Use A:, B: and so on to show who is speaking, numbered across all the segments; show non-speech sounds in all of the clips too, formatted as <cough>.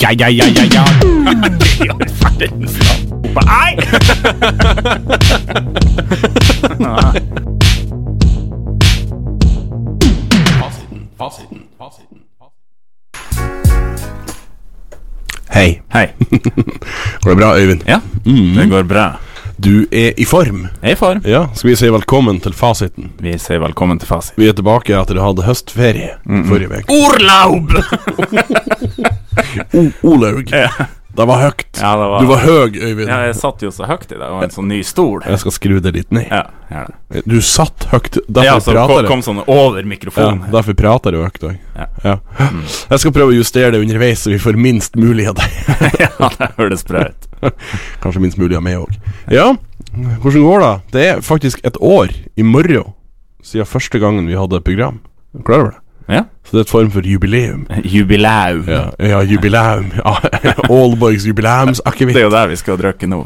A: Ja, ja, ja, ja, <laughs> ja. Det gjør verdens land. Nei!
B: Fasiten, fasiten, fasiten.
C: Hei.
A: <laughs> Hei. Mm.
C: Går det bra, Øyvind?
A: Ja, det går bra.
C: Du er i form.
A: Hei, far.
C: Ja, skal vi si velkommen til fasiten.
A: Vi sier velkommen til Fasit.
C: Vi er tilbake etter å ha hatt høstferie forrige uke.
A: Orlaub!
C: Olaug.
A: Ja.
C: Oh, Det var høyt.
A: Ja, det var-
C: Du var høg, Øyvind.
A: Ja, jeg satt jo så høyt i dag, og en sånn ny stol.
C: Jeg skal skru det litt ned.
A: Ja, ja.
C: Du satt høyt. Derfor
A: ja så kom,
C: prater jeg.
A: kom sånn over
C: Ja,
A: mikrofonen.
C: derfor prater du høyt òg.
A: Ja.
C: Jeg skal prøve å justere det underveis, så vi får minst mulig av deg.
A: <laughs> Ja, det høres bra ut.
C: Kanskje minst mulig av meg òg. Ja, hvordan går det? Det er faktisk et år i morgen siden første gangen vi hadde program. Er du Klar over det?
A: Ja.
C: Så det er et form for jubileum.
A: Jubileum.
C: Ja, ja jubileum. Ja, Aalborgs
A: Det
C: jubileumsakevitt.
A: er jo der vi skal drikke nå.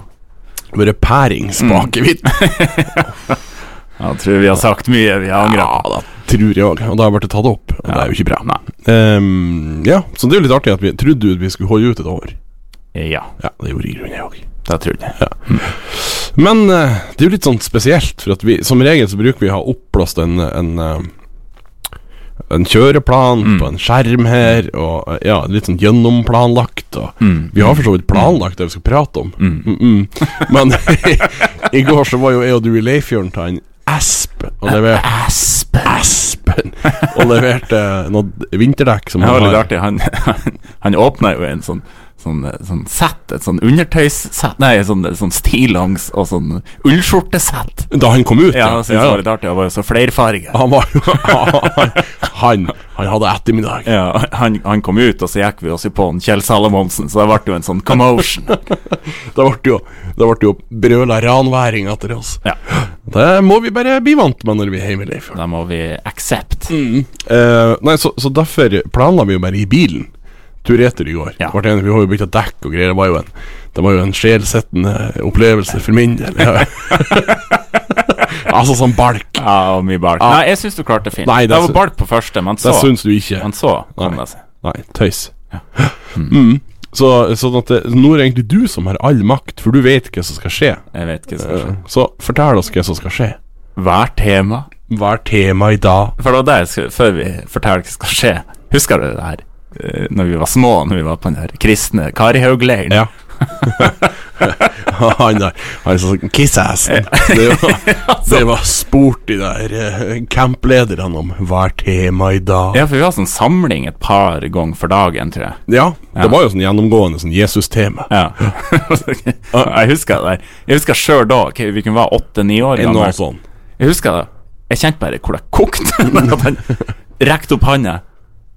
C: Bare pærings på akevitt.
A: Jeg tror vi har sagt mye vi har angret
C: Ja,
A: på.
C: da tror jeg òg. Og da ble det tatt opp. Og det er jo ikke bra.
A: Nei.
C: Ehm, ja, så det er jo litt artig at vi trodde jo at vi skulle holde ut et år.
A: Ja,
C: Ja, det gjorde i grunnen jeg òg.
A: det trodde jeg.
C: Men eh, det er jo litt sånn spesielt, for at vi, som regel så bruker vi å ha oppblåst en, en, eh, en kjøreplan
A: Mm.
C: på en skjerm her, og eh, ja, litt sånn gjennomplanlagt. Og
A: Mm.
C: Vi har for så vidt planlagt det vi skal prate om, Mm, mm. men <laughs> i går så var jo jeg og du i Leifjorden til en Asp og, lever,
A: Aspen.
C: Aspen, og leverte noe vinterdekk som
A: Det var
C: han
A: litt
C: har.
A: artig. Han, han, han åpna jo en sånn Sånn, eh, sånn sett, et sånn undertøyssett Nei, sånn, sånn stillongs og sånn ullskjortesett.
C: Da han kom ut,
A: Ja, jeg synes det var litt artig. Han var jo så flerfarga.
C: Han var jo <laughs> Han, han hadde ettermiddag.
A: Ja, han, han kom ut, og så gikk vi også på han Kjell Salomonsen, så det ble jo en sånn commotion. <laughs>
C: Da ble jo, da ble jo brøla ranværing etter oss.
A: Ja,
C: Det må vi bare bli vant med når vi er hjemme i Leifjord.
A: Da må vi accept.
C: Eh, nei, så, så derfor planla vi jo bare i bilen. Tur-retur i går.
A: Ja.
C: Vart enig, vi har jo bytta dekk og greier. Det var jo en, det var jo en sjelsettende opplevelse for min del.
A: <laughs>
C: Ja. altså sånn balk.
A: Ja, og mye balk. Nei, jeg syns du klarte det fint.
C: Nei, det
A: det,
C: sy-
A: var balk på første, men så
C: Det syns du ikke.
A: Men så kom
C: Nei.
A: det seg.
C: Nei, tøys. <gasps> Mm. Så sånn at det, nå er det egentlig du som har all makt, for du vet hva som skal skje.
A: Jeg vet ikke hva som skjer.
C: Eh, Så fortell oss hva som skal skje.
A: Hver tema
C: Hva er temaet i dag?
A: For det var der, jeg skulle- før vi forteller hva som skal skje Husker du det her? Eh, Når vi var små, når vi var på den her kristne Karihaugleiren
C: Ja. <laughs> han der Han som sånn Kissassen. Det
A: <laughs>
C: var, det var sport, de der eh, camplederne, om hva er tema i dag?
A: Ja, for vi har sånn samling et par ganger for dagen, tror jeg
C: Ja, det var jo sånn gjennomgående sånn Jesus-tema.
A: Ja <laughs> Jeg husker det der Jeg husker selv da, ok, vi kunne være 8-9 år
C: Noe
A: gammel
C: sånn.
A: Jeg husker det Jeg kjente bare hvor det kokte <laughs> Men at han rekte opp handa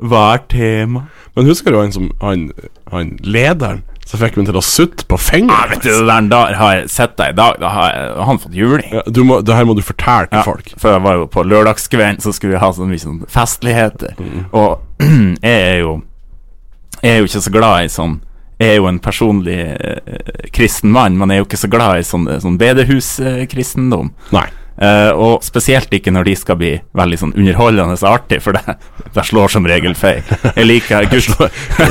A: Hva er tema?
C: Men husker du han som Han, han lederen som fikk meg til å sutte på
A: Jeg
C: fingeren?
A: Ah, vet du, den der har jeg sett deg i dag Da har jeg, har han fått juling
C: Ja, du må, det her må du fortelle
A: Ja,
C: til folk.
A: For jeg var jo på lørdagskvelden, så skulle vi ha så mye sånn festligheter.
C: Mm.
A: Og <clears throat> jeg er jo Jeg er jo ikke så glad i sånn Jeg er jo en personlig eh, eh, kristen mann, men jeg er jo ikke så glad i sånn, sånn bedehuskristendom.
C: Nei.
A: Eh, og spesielt ikke når de skal bli veldig sånn underholdende og artig, for det, <laughs> det slår som regel feil. Jeg
C: <laughs>
A: liker, gud,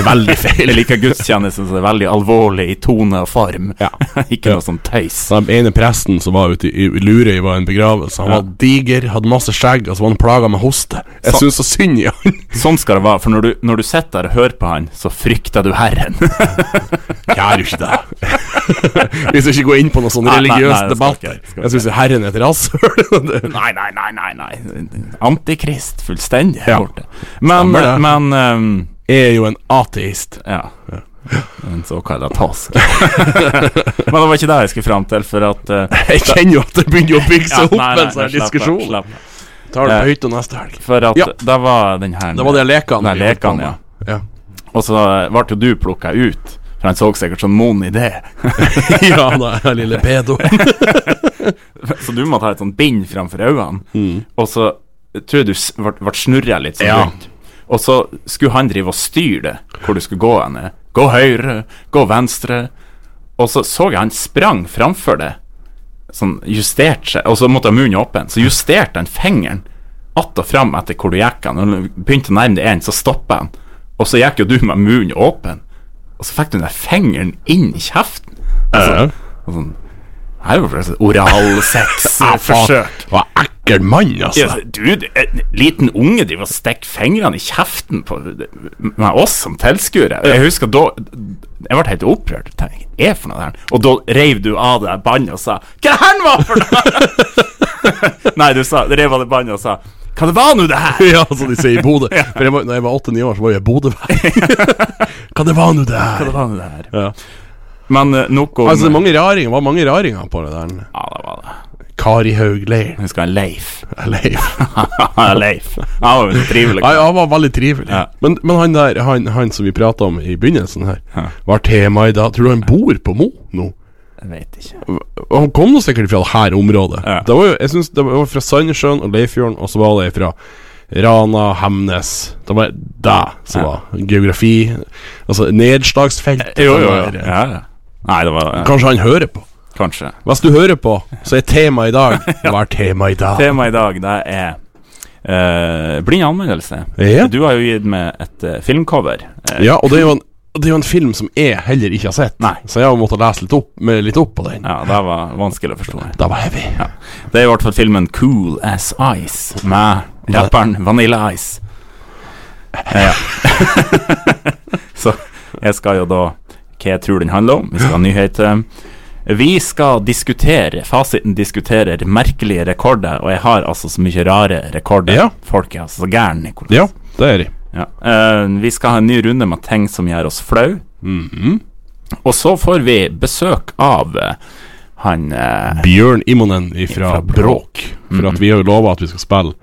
C: Veldig feil.
A: <laughs> jeg liker gudstjenester som er veldig alvorlig i tone og form.
C: Ja.
A: <laughs> ikke noe sånn tøys.
C: Så Den ene presten som var ute i i Lurøy, var en begravelse. Han var diger, hadde masse skjegg, og så var han plaga med hoste. Jeg
A: Så-
C: syns så synd i han.
A: Sånn skal det være, for når du, når du sitter der og hører på han, så frykter du Herren. <laughs>
C: Gjør jo ikke det. <laughs> Vi skal ikke gå inn på noen sånn
A: Nei, nei,
C: religiøs
A: nei, det skal
C: debatt.
A: ikke, det skal
C: Jeg syns Herren er et rasshøl.
A: Nei, nei, nei, nei, nei. Antikrist fullstendig
C: Ja.
A: borte. Men,
C: Stemmer det.
A: men ehm,
C: <laughs> Jeg er jo en ateist.
A: ja. En såkalla tosk. <laughs> men det var ikke det jeg skulle fram til, for at eh,
C: Jeg kjenner jo at det begynner å bygge
A: ja,
C: seg opp
A: nei, nei,
C: en sånn
A: nei, slapp av,
C: diskusjon.
A: slapp av.
C: Tar det
A: Eh,
C: på høyt og neste helg.
A: For at
C: Ja.
A: det var den her
C: Det var de lekene.
A: den
C: vi holdt på
A: leken,
C: med.
A: ja.
C: Ja.
A: Og så ble jo du plukka ut, for han så sikkert sånn mon idé.
C: <laughs>
A: <laughs>
C: ja da, jeg er lille pedo.
A: Så du måtte ha et sånt bind framfor øynene. Og så tror jeg du s- ble, ble snurra litt sånn
C: Ja.
A: rundt. Og så skulle han drive og styre det, hvor du skulle gå henne. Gå høyre, gå venstre. Og så så jeg han sprang framfor det, sånn justerte seg, og så måtte han munnen åpen. Så justerte han fingeren att og fram etter hvor du gikk han. Og når du begynte å nærme deg en, så stoppa han. Og så gikk jo du med munnen åpen. Og så fikk du den der fingeren inn i kjeften.
C: Ja.
A: Og sånn Her er jo forresten
C: <laughs>
A: oralsex-forsøk.
C: Hva ekkel mann, altså.
A: Ja, du, en liten unge driver og stikker fingrene i kjeften på med oss som tilskuere. Jeg husker da Jeg ble helt opprørt. Jeg tenkte, Hva er det for noe der? Og da reiv du av deg båndet og sa Hva det her var for noe?! <laughs> Nei, du sa, reiv av deg båndet og sa Hva det var nå, det her?!
C: <laughs> Ja, som de sier
A: <laughs>
C: i Bodø. For jeg var, når jeg var åtte-ni år, så var jeg i Bodø. Hva det var nå det
A: Hva
C: her?
A: det var nå, det her?
C: Ja.
A: Men eh, nok om
C: Altså, det er mange raringer, var mange raringer på det der.
A: Ja, det var det.
C: Kari Haugleiren.
A: Jeg husker han Leif. <laughs>
C: Leif.
A: Leif. Han var jo en trivelig
C: Ja, ja, han var veldig trivelig.
A: Ja.
C: Men, men han der, han, han som vi prata om i begynnelsen her,
A: Ja.
C: var tema i dag. Tror du han bor på Mo nå?
A: Jeg vet ikke.
C: Og han kom nå sikkert fra det her området.
A: Ja.
C: Det var jo, jeg synes det var fra Sandnessjøen og Leifjorden, og så var det fra Rana, Hemnes Det var det som
A: Ja.
C: var geografi. Altså nedslagsfelt.
A: Jo, jo, jo.
C: Det var-
A: Ja, ja. Nei, det var ja,
C: Kanskje han hører på.
A: Kanskje.
C: Hvis du hører på, så er tema i
A: <laughs>
C: dag Hva er tema i dag?
A: Tema i dag, det er eh, blind anmeldelse.
C: Ja.
A: Du har jo gitt meg et eh, filmcover. Eh,
C: Ja, og det er jo en det er jo en film som jeg heller ikke har sett,
A: Nei.
C: så jeg har måttet lese litt opp, med litt opp på den.
A: ja, det var vanskelig å forstå.
C: Da var heavy.
A: Det er i hvert fall filmen Cool As Ice med rapperen Vanilla Ice. Eh, ja. <laughs> Så jeg skal jo da Hva jeg tror den handler om. Vi skal ha nyheter. Vi skal diskutere Fasiten diskuterer merkelige rekorder, og jeg har altså så mye rare rekorder.
C: Ja.
A: Folk er altså så gærne, Nicolas.
C: Ja, det er de.
A: Ja. eh, vi skal ha en ny runde med ting som gjør oss flau.
C: Mhm.
A: Og så får vi besøk av eh, han eh,
C: Bjørn Immonen ifra
A: Ifra Mhm.
C: Bråk. For at vi har jo lova at vi skal spille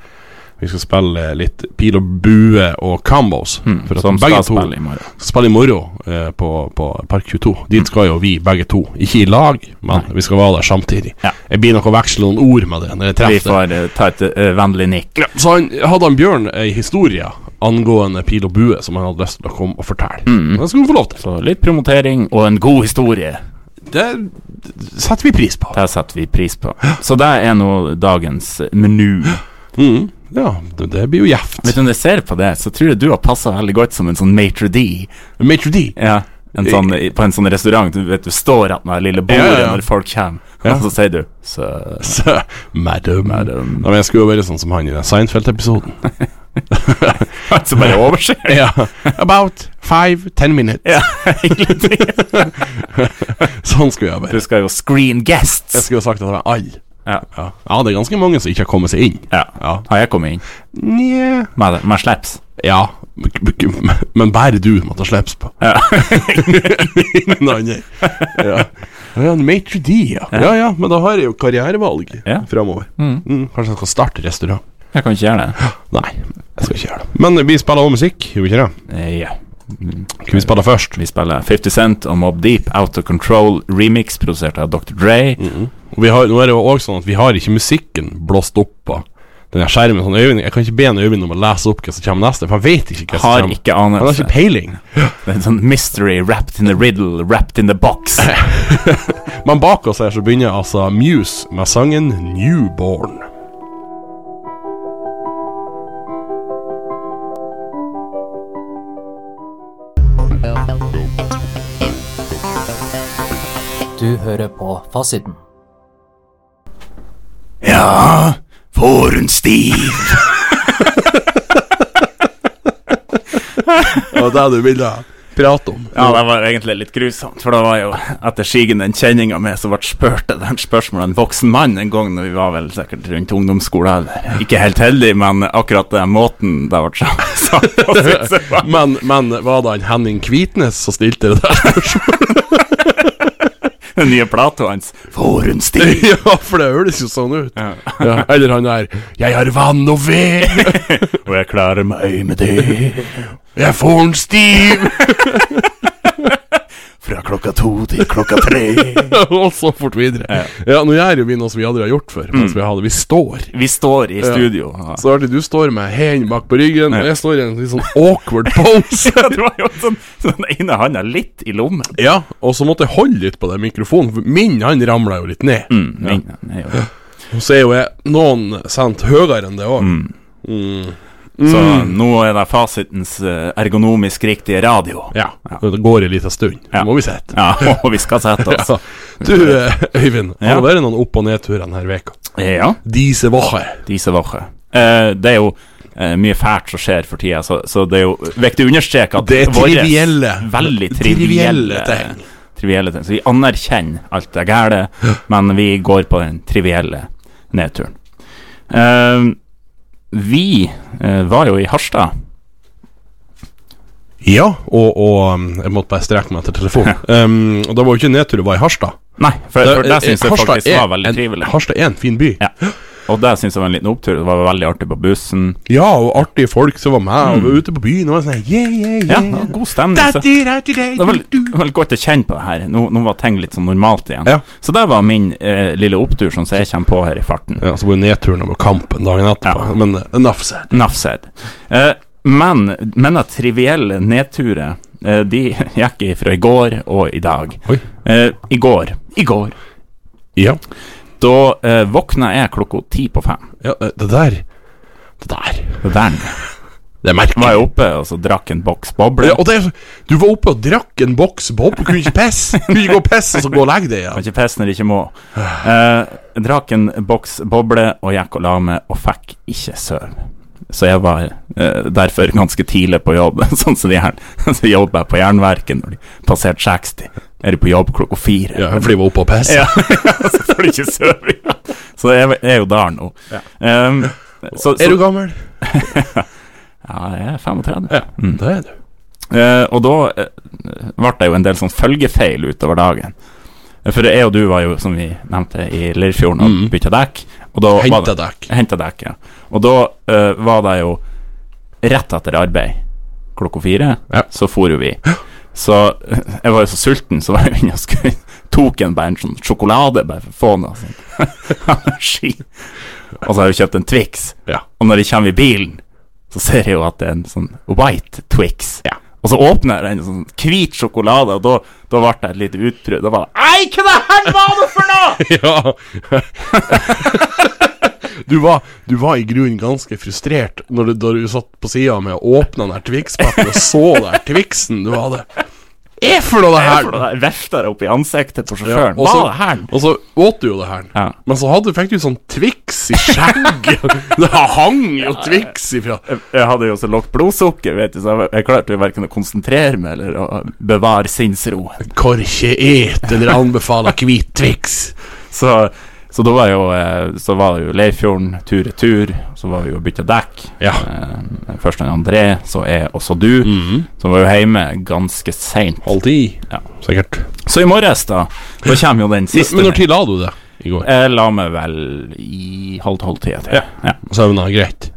C: Vi skal spille eh, litt pil og bue og combos. For
A: Mhm,
C: at
A: som
C: begge
A: skal
C: to
A: spille i morgen.
C: skal spille i morgen eh, på, på Park 22.
A: Mhm.
C: Dit skal jo vi begge to. Ikke i lag, men vi skal være der samtidig.
A: Ja.
C: Jeg blir nok å veksle noen ord med det når jeg
A: Vi
C: treffer det.
A: får eh, ta et eh, vennlig nikk.
C: Ja, så han, hadde han Bjørn ei historie angående pil og bue som han hadde lyst til å komme og fortelle.
A: Mhm.
C: Det skal han få lov til.
A: Så litt promotering og en god historie.
C: Det setter vi pris på.
A: Det setter vi pris på. Så det er nå dagens
C: <gasps>
A: menu.
C: Mm. Ja, det, det blir jo gjevt.
A: Vet du, Når jeg ser på det, så tror jeg du har passa veldig godt som en sånn maitre d'.
C: Maitre D.
A: Ja, en sånn, i- på en sånn restaurant. Du vet, du står at med det lille bordet
C: Ja, ja, ja.
A: når folk kommer,
C: Ja.
A: og så sier du
C: <laughs>
A: så,
C: <laughs> Så, Madam.
A: Madam.
C: Ja, men jeg skulle jo være sånn som han i den Seinfeld-episoden.
A: Så bare overser
C: ja. <laughs> About five, ten minutes.
A: <laughs> Ja, egentlig.
C: Sånn skulle jeg
A: Du
C: være.
A: skal jo screen
C: Jeg
A: guests.
C: skulle jo sagt at det var alle.
A: Ja.
C: Ja. ja, det er ganske mange som ikke har kommet seg inn.
A: ja.
C: Ja.
A: Har jeg kommet inn?
C: Nja
A: Med, det- med slips?
C: Ja, b- b- b- men bare du måtte slips på. <laughs>
A: Ja.
C: Ingen andre. Ja. Ja, en Maitre D, ja. ja. Ja, men da har jeg jo karrierevalg
A: Ja.
C: framover. Mm, kanskje jeg skal starte restaurant.
A: Jeg kan ikke gjøre det.
C: Nei, jeg skal ikke gjøre det. Men vi spiller også musikk, gjør vi ikke det?
A: Eh, Ja.
C: Skal vi spille først?
A: Vi spiller 50 Cent og Mob Deep Out of Control remix produsert av Dr. Dre.
C: Mm, Og vi har, nå er det jo også sånn at vi har ikke musikken blåst opp på den her skjermen. Sånn Øyvind, jeg kan ikke be en Øyvind om å lese opp hva som kommer neste, for han vet ikke hva som
A: Har
C: kommer.
A: ikke
C: Han har
A: anelse.
C: ikke peiling.
A: Det er en sånn mystery wrapped in the riddle, wrapped in the
C: <laughs>
A: box.
C: Men bak oss her så begynner altså Muse med sangen 'Newborn'.
D: Du hører på Fasiten.
A: Ja, får hun stiv?
C: Og det du ville prate om.
A: Ja, det var egentlig litt grusomt, for det var jo etter Sigen den kjenninga med som ble spurt det der spørsmålet av en voksen mann en gang når vi var vel sikkert rundt ungdomsskolen. eller Ikke helt heldig, men akkurat den måten det ble sa- <laughs> sagt på, synes jeg var
C: Men, men var det han Henning Kvitnes som stilte det der?
A: Den nye plata hans. For en stil!
C: <laughs> ja, for det høres jo sånn ut.
A: Ja.
C: Ja, eller han der 'Jeg har vann og ved,
A: Og jeg klarer meg med det
C: jeg får en stiv'.
A: fra klokka to til klokka tre.
C: <laughs> og så fort videre. Mm. Ja. Nå gjør jo vi noe som vi aldri har gjort før. Mens vi, hadde, vi står.
A: Vi står i studio. Ja.
C: Så artig, du står med hendene bak på ryggen, og
A: Ja.
C: jeg står i en litt sånn awkward
A: <laughs>
C: pose.
A: Ja, <laughs> det var jo sånn, så den ene handa litt i lommen.
C: ja, og så måtte jeg holde litt på den mikrofonen, for min han ramla jo litt ned.
A: Mm, Min, den er jo-
C: Og så er jo jeg noen cent høyere enn det òg. Mm.
A: Så nå er det fasitens eh, ergonomisk riktige radio.
C: Ja. Det går en liten stund.
A: Ja.
C: Så må vi sitte.
A: Ja, <laughs> og vi skal sette oss.
C: Ja. Du, eh, Øyvind, har
A: Ja.
C: det vært noen opp- og nedturer denne veka?
A: Ja,
C: Disse var
A: disse var ikke. Eh, det er jo eh, mye fælt som skjer for tida, så, så det er jo viktig å understreke at
C: Det er
A: våres
C: trivielle.
A: Veldig
C: Trivielle
A: trivielle
C: ting.
A: Trivielle ting. Så vi anerkjenner alt det gærne, men vi går på den trivielle nedturen. Eh, vi eh, var jo i Harstad.
C: Ja, og, og um, jeg måtte bare streke meg etter telefonen. Um, og da var jo ikke nedtur å være i Harstad.
A: Nei, for, for det
C: Eh,
A: syns jeg
C: Harstad
A: faktisk
C: er
A: var veldig
C: en-
A: trivelig.
C: Harstad er en fin by.
A: Ja. Og det syns jeg var en liten opptur. Det var veldig artig på bussen.
C: Ja, og artige folk som var med, og var ute på byen og var sånn yeah, yeah,
A: Mm. Ja,
C: yeah.
A: det var god stemning. Så. Det
C: Det
A: var vel, vel godt å kjenne på det her. Nå, nå var ting litt sånn normalt igjen.
C: Ja.
A: Så det var min eh, lille opptur som jeg kommer på her i farten.
C: Ja, så var jo nedturen over kampen dagen etterpå.
A: Ja.
C: Men eh, enough said.
A: Enough said. Eh, men men det trivielle nedturet, eh, de <laughs> gikk ifra i går og i dag.
C: Oi.
A: Eh, I går I går.
C: Ja.
A: Da eh, våkna jeg klokka ti på fem.
C: ja, eh, det der Det der
A: Det der
C: Det er merkelig.
A: var jeg oppe og så drakk en boks boble.
C: Ja, og det, er så- du var oppe og drakk en boks bob, kunne ikke
A: <laughs>
C: pisse! Kunne ikke gå og pisse, og så gå og legge deg
A: Kan
C: igjen.
A: ikke feste når jeg ikke må. Eh, jeg drakk en boks boble og gikk og la meg og fikk ikke sove. Så jeg var eh, derfor ganske tidlig på jobb. <laughs> sånn som de her, så jobber jeg på Jernverket når de passerte 60. Er de på jobb klokka fire?
C: Ja, fordi jeg var oppe og pisse.
A: Ja, <laughs> så får du ikke sove. ja. Så jeg er jo der nå. Um, så, så,
C: Er du gammel?
A: Ja, jeg er Mm. 35.
C: Ja, det er du.
A: Eh, og da eh, ble det jo en del sånn følgefeil utover dagen. Eh, For jeg og du var jo, som vi nevnte, i Lirfjorden og
C: Mm.
A: bytta dekk. Og da var det-
C: Henta dekk.
A: Henta dekk, ja. Og da eh, var det jo rett etter arbeid, klokka fire,
C: Ja.
A: så for jo vi. Så <laughs> eh, jeg var jo så sulten, så var jeg inne og skulle <laughs> tok en bare en sånn sjokolade, bare for å få noe sånn <laughs> energi. Og så har jeg jo kjøpt en Twix,
C: Ja.
A: og når jeg kommer i bilen, så ser jeg jo at det er en sånn white Twix.
C: Ja.
A: Og så åpner jeg en sånn hvit sjokolade, og da, da ble det et lite utbrudd. Da var det Ei, hva det her var det for
C: <laughs>
A: noe?!
C: Ja du, var, du var i grunnen ganske frustrert når du, da du satt på sida med å åpne den der Twix-pakken og så den der Twixen du hadde. Er for noe, det
A: Jeg
C: her?
A: får E det der Velta det opp i ansiktet på
C: Ja,
A: sjåføren.
C: og,
A: Hva er det her?
C: så, og så åt du jo det her.
A: Ja.
C: Men så hadde, fikk du sånn Twix i skjegget. det hang jo Twix ifra
A: Jeg- Jeg hadde jo så lavt blodsukker, vet du, så jeg, jeg klarte jo verken å konsentrere meg eller å bevare sinnsroen.
C: Korkje et eller anbefaler hvit Twix.
A: Så, så da var jo eh, Så var det jo Leirfjorden tur-retur, så var vi jo og bytta dekk.
C: Ja. Mm.
A: Eh, Først en André, så jeg, og så du.
C: Mhm.
A: Så var jo hjemme ganske seint.
C: Halv ti.
A: Ja.
C: Sikkert.
A: Så i morges, da, da kommer jo den siste.
C: Men når tid la du det i går?
A: Jeg la meg vel i halv tolv-tida, tror jeg. Ja.
C: Søvna greit?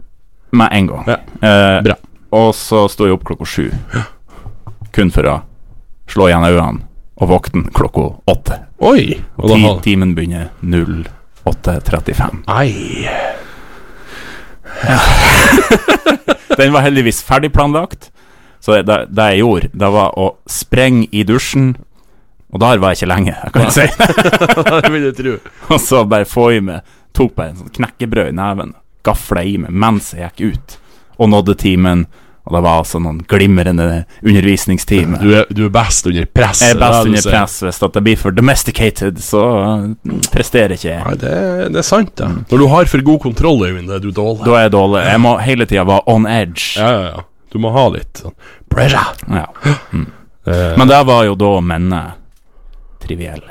A: Med en gang.
C: Ja.
A: Eh,
C: Bra.
A: Og så sto jeg opp klokka sju. Kun for å slå igjen øynene og våkne klokka åtte.
C: Oi! Og da
A: Ti,
C: hadde-
A: timen begynner 08.35.
C: Ai.
A: Den var heldigvis ferdig planlagt, så det, det, det jeg gjorde, det var å sprenge i dusjen. Og der var jeg ikke lenge, kan jeg si.
C: <laughs> det vil jeg tro.
A: <laughs> Og så bare få i meg Tok bare en sånn knekkebrød i neven, gafla i meg mens jeg gikk ut, og nådde timen. Og det var altså noen glimrende undervisningstimer.
C: Du er, du er best under press.
A: Jeg er
C: det det
A: best
C: du
A: under
C: sier.
A: press hvis at det blir for domesticated, så uh, presterer ikke jeg.
C: Nei, det, er- det er sant, det. Når du har Mm. for god kontroll, Øyvind, er du dårlig.
A: Da er jeg dårlig. Jeg må hele tida være on edge.
C: Ja, ja, ja. Du må ha litt sånn pressure.
A: Ja.
C: Eh,
A: Men det var jo da menne triviell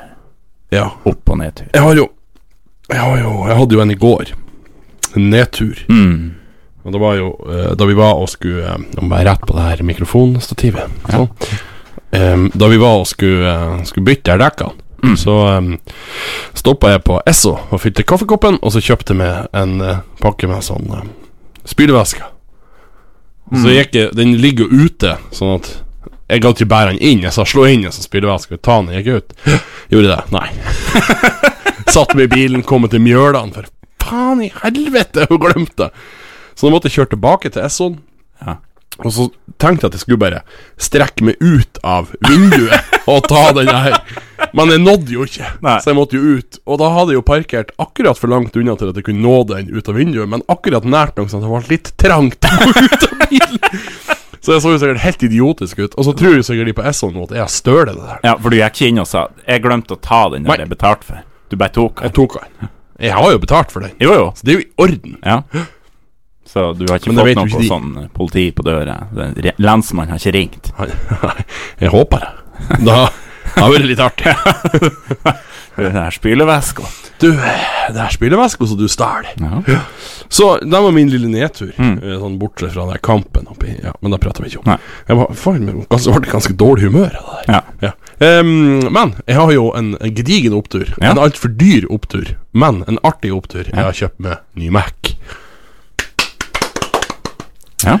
C: ja.
A: opp- og nedtur.
C: Jeg har jo Jeg har jo Jeg hadde jo en i går. En nedtur.
A: Mm.
C: Og det var jo eh, da vi var og skulle eh, Nå må jeg rette på det her mikrofonstativet. Sånn. Em, da vi var og skulle, eh, skulle bytte her dekkene, så um, stoppa jeg på Esso og fylte kaffekoppen, og så kjøpte jeg en eh, pakke med sånn uh, spylevæske. Og Så gikk jeg Den ligger jo ute, sånn at jeg gadd ikke bære den inn. Jeg sa slå inn en sånn spylevæske og ta den. Jeg gikk ut. Gjorde det. Nei. Satt med i bilen, kom til Mjølan, for faen i helvete, hun glemte det. Så da måtte jeg kjøre tilbake til Esson.
A: Ja.
C: Og så <laughs> tenkte jeg at jeg skulle bare strekke meg ut av vinduet og ta den her Men jeg nådde jo ikke,
A: Nei.
C: så jeg måtte jo ut. Og da hadde jeg jo parkert akkurat for langt unna til at jeg kunne nå den ut av vinduet, men akkurat nært nok sånn at det var litt trangt <laughs> å gå ut av bilen. Så jeg så jo sikkert helt idiotisk ut. Og så tror jo sikkert de på Esson nå at jeg har stølet det der.
A: Ja, for du gikk inn og sa 'Jeg glemte å ta den
C: Nei.
A: der jeg betalte for'. Du bare tok
C: Jeg
A: den.
C: tok den. Jeg har jo betalt for den.
A: Jo, jo.
C: Så det er jo i orden.
A: Ja. Så du har ikke
C: Men det
A: fått
C: vet
A: noe
C: jo ikke
A: på
C: de.
A: sånn eh, politi på døra? Den re- Lensmannen har ikke ringt?
C: <laughs> Jeg håper det. Da da blir det litt
A: <laughs>
C: artig.
A: Den her spyleveska.
C: Du, det her spilleveska som du stjal
A: Ja.
C: Så det var min lille nedtur, eh, sånn bortsett fra den der kampen oppi Ja, men da prater vi ikke om.
A: Nei.
C: Jeg var faen meg ganske, ble ganske dårlig humør av det der.
A: ja.
C: Ja. Em, men jeg har jo en, en gedigen opptur.
A: Ja.
C: En altfor dyr opptur, men en artig opptur. Jeg har kjøpt meg ny Mac.
A: Ja.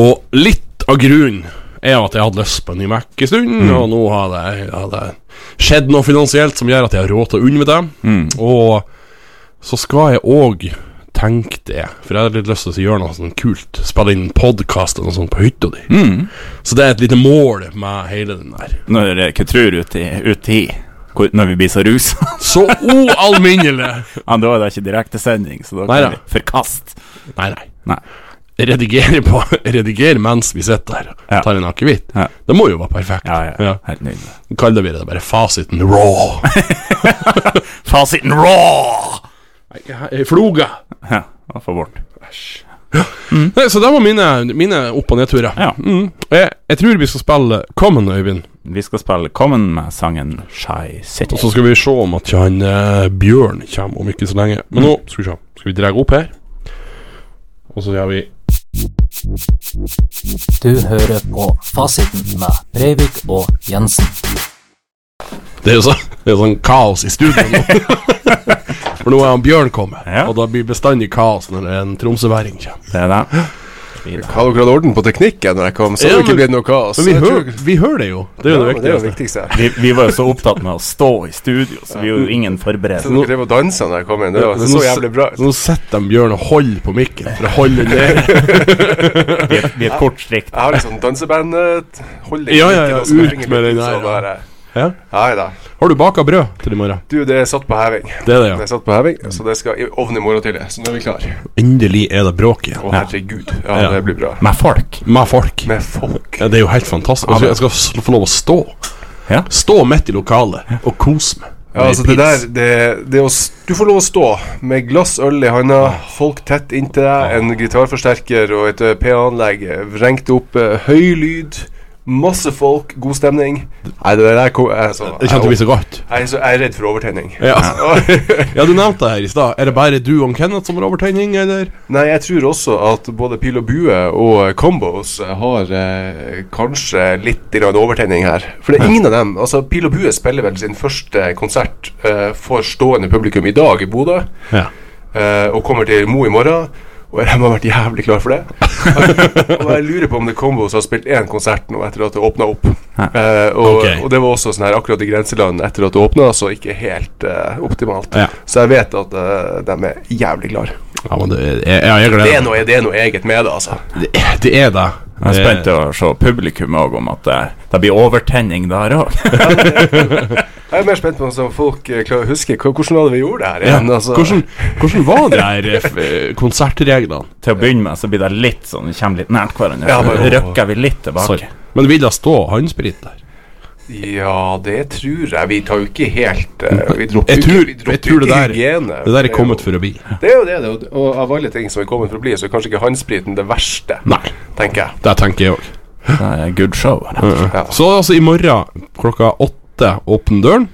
C: Og litt av grunnen er at jeg hadde lyst på en ny Mac en stund,
A: Mm.
C: og nå har det, har det skjedd noe finansielt som gjør at jeg har råd til å unne meg det.
A: Mm.
C: Og så skal jeg òg tenke det, for jeg har litt lyst til å gjøre noe sånn kult. Spille inn podkast eller noe sånt på hytta di.
A: Mm.
C: Så det er et lite mål med hele den der.
A: Når eh, hva tror du uti, uti hvor- Når vi blir så rusa?
C: Så ualminnelig!
A: <laughs> Ja, da er det ikke direktesending, så da kan
C: Neida.
A: vi forkaste.
C: Nei, nei.
A: Nei.
C: Redigere, på, redigere mens vi sitter der.
A: Ja.
C: Tar en akevitt.
A: Ja.
C: Det må jo være perfekt.
A: Ja, ja.
C: Ja.
A: Helt nydelig.
C: Kaller vi det bare fasiten raw.
A: Fasiten raw!
C: Nei, Floga.
A: Ja, da får bort.
C: Nei, så det var mine, mine opp- og nedturer.
A: Ja.
C: Mm. Jeg, jeg tror vi skal spille Common, Øyvind.
A: Vi skal spille Common med sangen Shy City.
C: Og så skal vi se om at han eh, Bjørn kommer om ikke så lenge. Men nå skal vi se. Skal vi dra opp her? Og så gjør vi
D: Du hører på Fasiten med Breivik og Jensen.
C: Det er jo så, det er sånn kaos i studio nå.
E: <laughs>
C: For nå er han Bjørn kommet,
A: Ja.
C: og da blir bestandig kaos når en tromsøværing kommer.
A: Det er det.
C: <gasps>
E: Hadde dere hatt orden på teknikken når jeg kom, så
C: Ja,
E: hadde det
C: men-
E: ikke blitt noe kaos.
C: Men vi,
E: Jeg tror-
C: hører- vi hører det jo. Det er jo
E: Ja,
C: det altså.
E: men det er jo
C: viktigste.
E: det viktigste.
A: Vi, vi var jo så opptatt med å stå i studio, så vi er jo ingen
E: Så
A: forberedt.
E: dere drev og dansa når jeg kom inn. Det var
C: Så
E: så
C: nå s-
E: jævlig bra.
C: Så nå sitter de Bjørn og holder på mikken for å holde den
E: <laughs>
C: ned.
A: Vi er, vi er kort strikt.
E: Jeg har litt sånn danseband eh, Hold i
C: Ja, ja,
E: mikken,
C: ja,
E: og så
C: ut
E: ringer
C: med
E: litt,
C: den der,
E: så
C: ja.
E: bare-
C: Ja.
E: Nei da.
C: Har du baka brød til i morgen?
E: Du, det er satt på heving. Det
C: Det er det,
E: er
C: ja.
E: satt på heving, så det skal i ovnen i morgen tidlig. Så nå er vi klare.
C: Endelig er det bråk igjen.
E: Å, herregud.
C: Ja.
E: Ja, det blir bra.
A: Med folk.
C: Med folk.
E: Med folk.
C: Ja, det er jo helt fantastisk. Jeg skal, jeg skal få lov å stå.
A: Ja.
C: Stå midt i lokalet og kose meg.
E: Ja, altså det der det, det å, s- Du får lov å stå med glass øl i handa, folk tett inntil deg, en gitarforsterker og et eh, PA-anlegg eh, vrengt opp, eh, høy lyd, masse folk, god stemning. Nei, det der kom, jeg, altså,
C: eh, Det kjente vi så godt.
E: Jeg er, så, jeg er redd for overtenning.
C: Ja. <laughs> ja, du nevnte det her i stad. Er det bare du og Kenneth som har overtenning, eller?
E: <laughs> Nei, jeg tror også at både pil og bue og eh, combos har eh, kanskje litt grann overtenning her. For det er ingen av dem Altså, pil og bue spiller vel sin første konsert eh, for stående publikum i dag i Bodø,
C: Ja.
E: eh, og kommer til Mo i morgen. Og de har vært jævlig klar
C: <laughs>
E: for det. og jeg lurer på om The Combos har spilt én konsert nå etter at det åpna opp. Eh, og,
C: Ok.
E: og det var også sånn her akkurat i grenseland etter at det åpna, så ikke helt eh, optimalt.
C: Ja.
E: Så jeg vet at eh, de er jævlig klare.
C: ja men det er, ja, jeg
E: Det er
C: gleder meg.
E: noe, det er noe eget med det, altså.
C: Det er det. Er det.
A: Jeg er spent på å se publikum òg, om at det, det blir overtenning der òg. <laughs>
E: Jeg er mer spent på om folk eh, klarer å huske hva- hvordan var det vi gjorde det her
C: Eh, Ja,
E: igjen. altså.
C: hvordan, hvordan var de her eh, f- eh, konsertreglene?
A: Til å begynne med så blir det litt sånn, vi kommer litt nært hverandre.
E: Ja,
A: Så
E: bare-
A: røkker vi litt tilbake.
C: <laughs> Sorry. Men vil det stå håndsprit der?
E: Ja, det tror jeg. Vi tar jo ikke helt eh, Vi dropper
C: Jeg
E: jo
C: tror,
E: ikke, vi dropper
C: jeg tror
E: jo
C: det,
E: ikke
C: der,
E: hygiene.
C: det der er
E: jo-
C: kommet for å bli.
E: Det er jo det, det er jo- og av alle ting som er kommet for å bli, så er kanskje ikke håndspriten det verste,
C: Nei,
E: tenker jeg.
C: det tenker jeg òg.
A: Det er good show. rett og slett.
E: Ja.
C: Så altså i morgen klokka åtte åpner døren.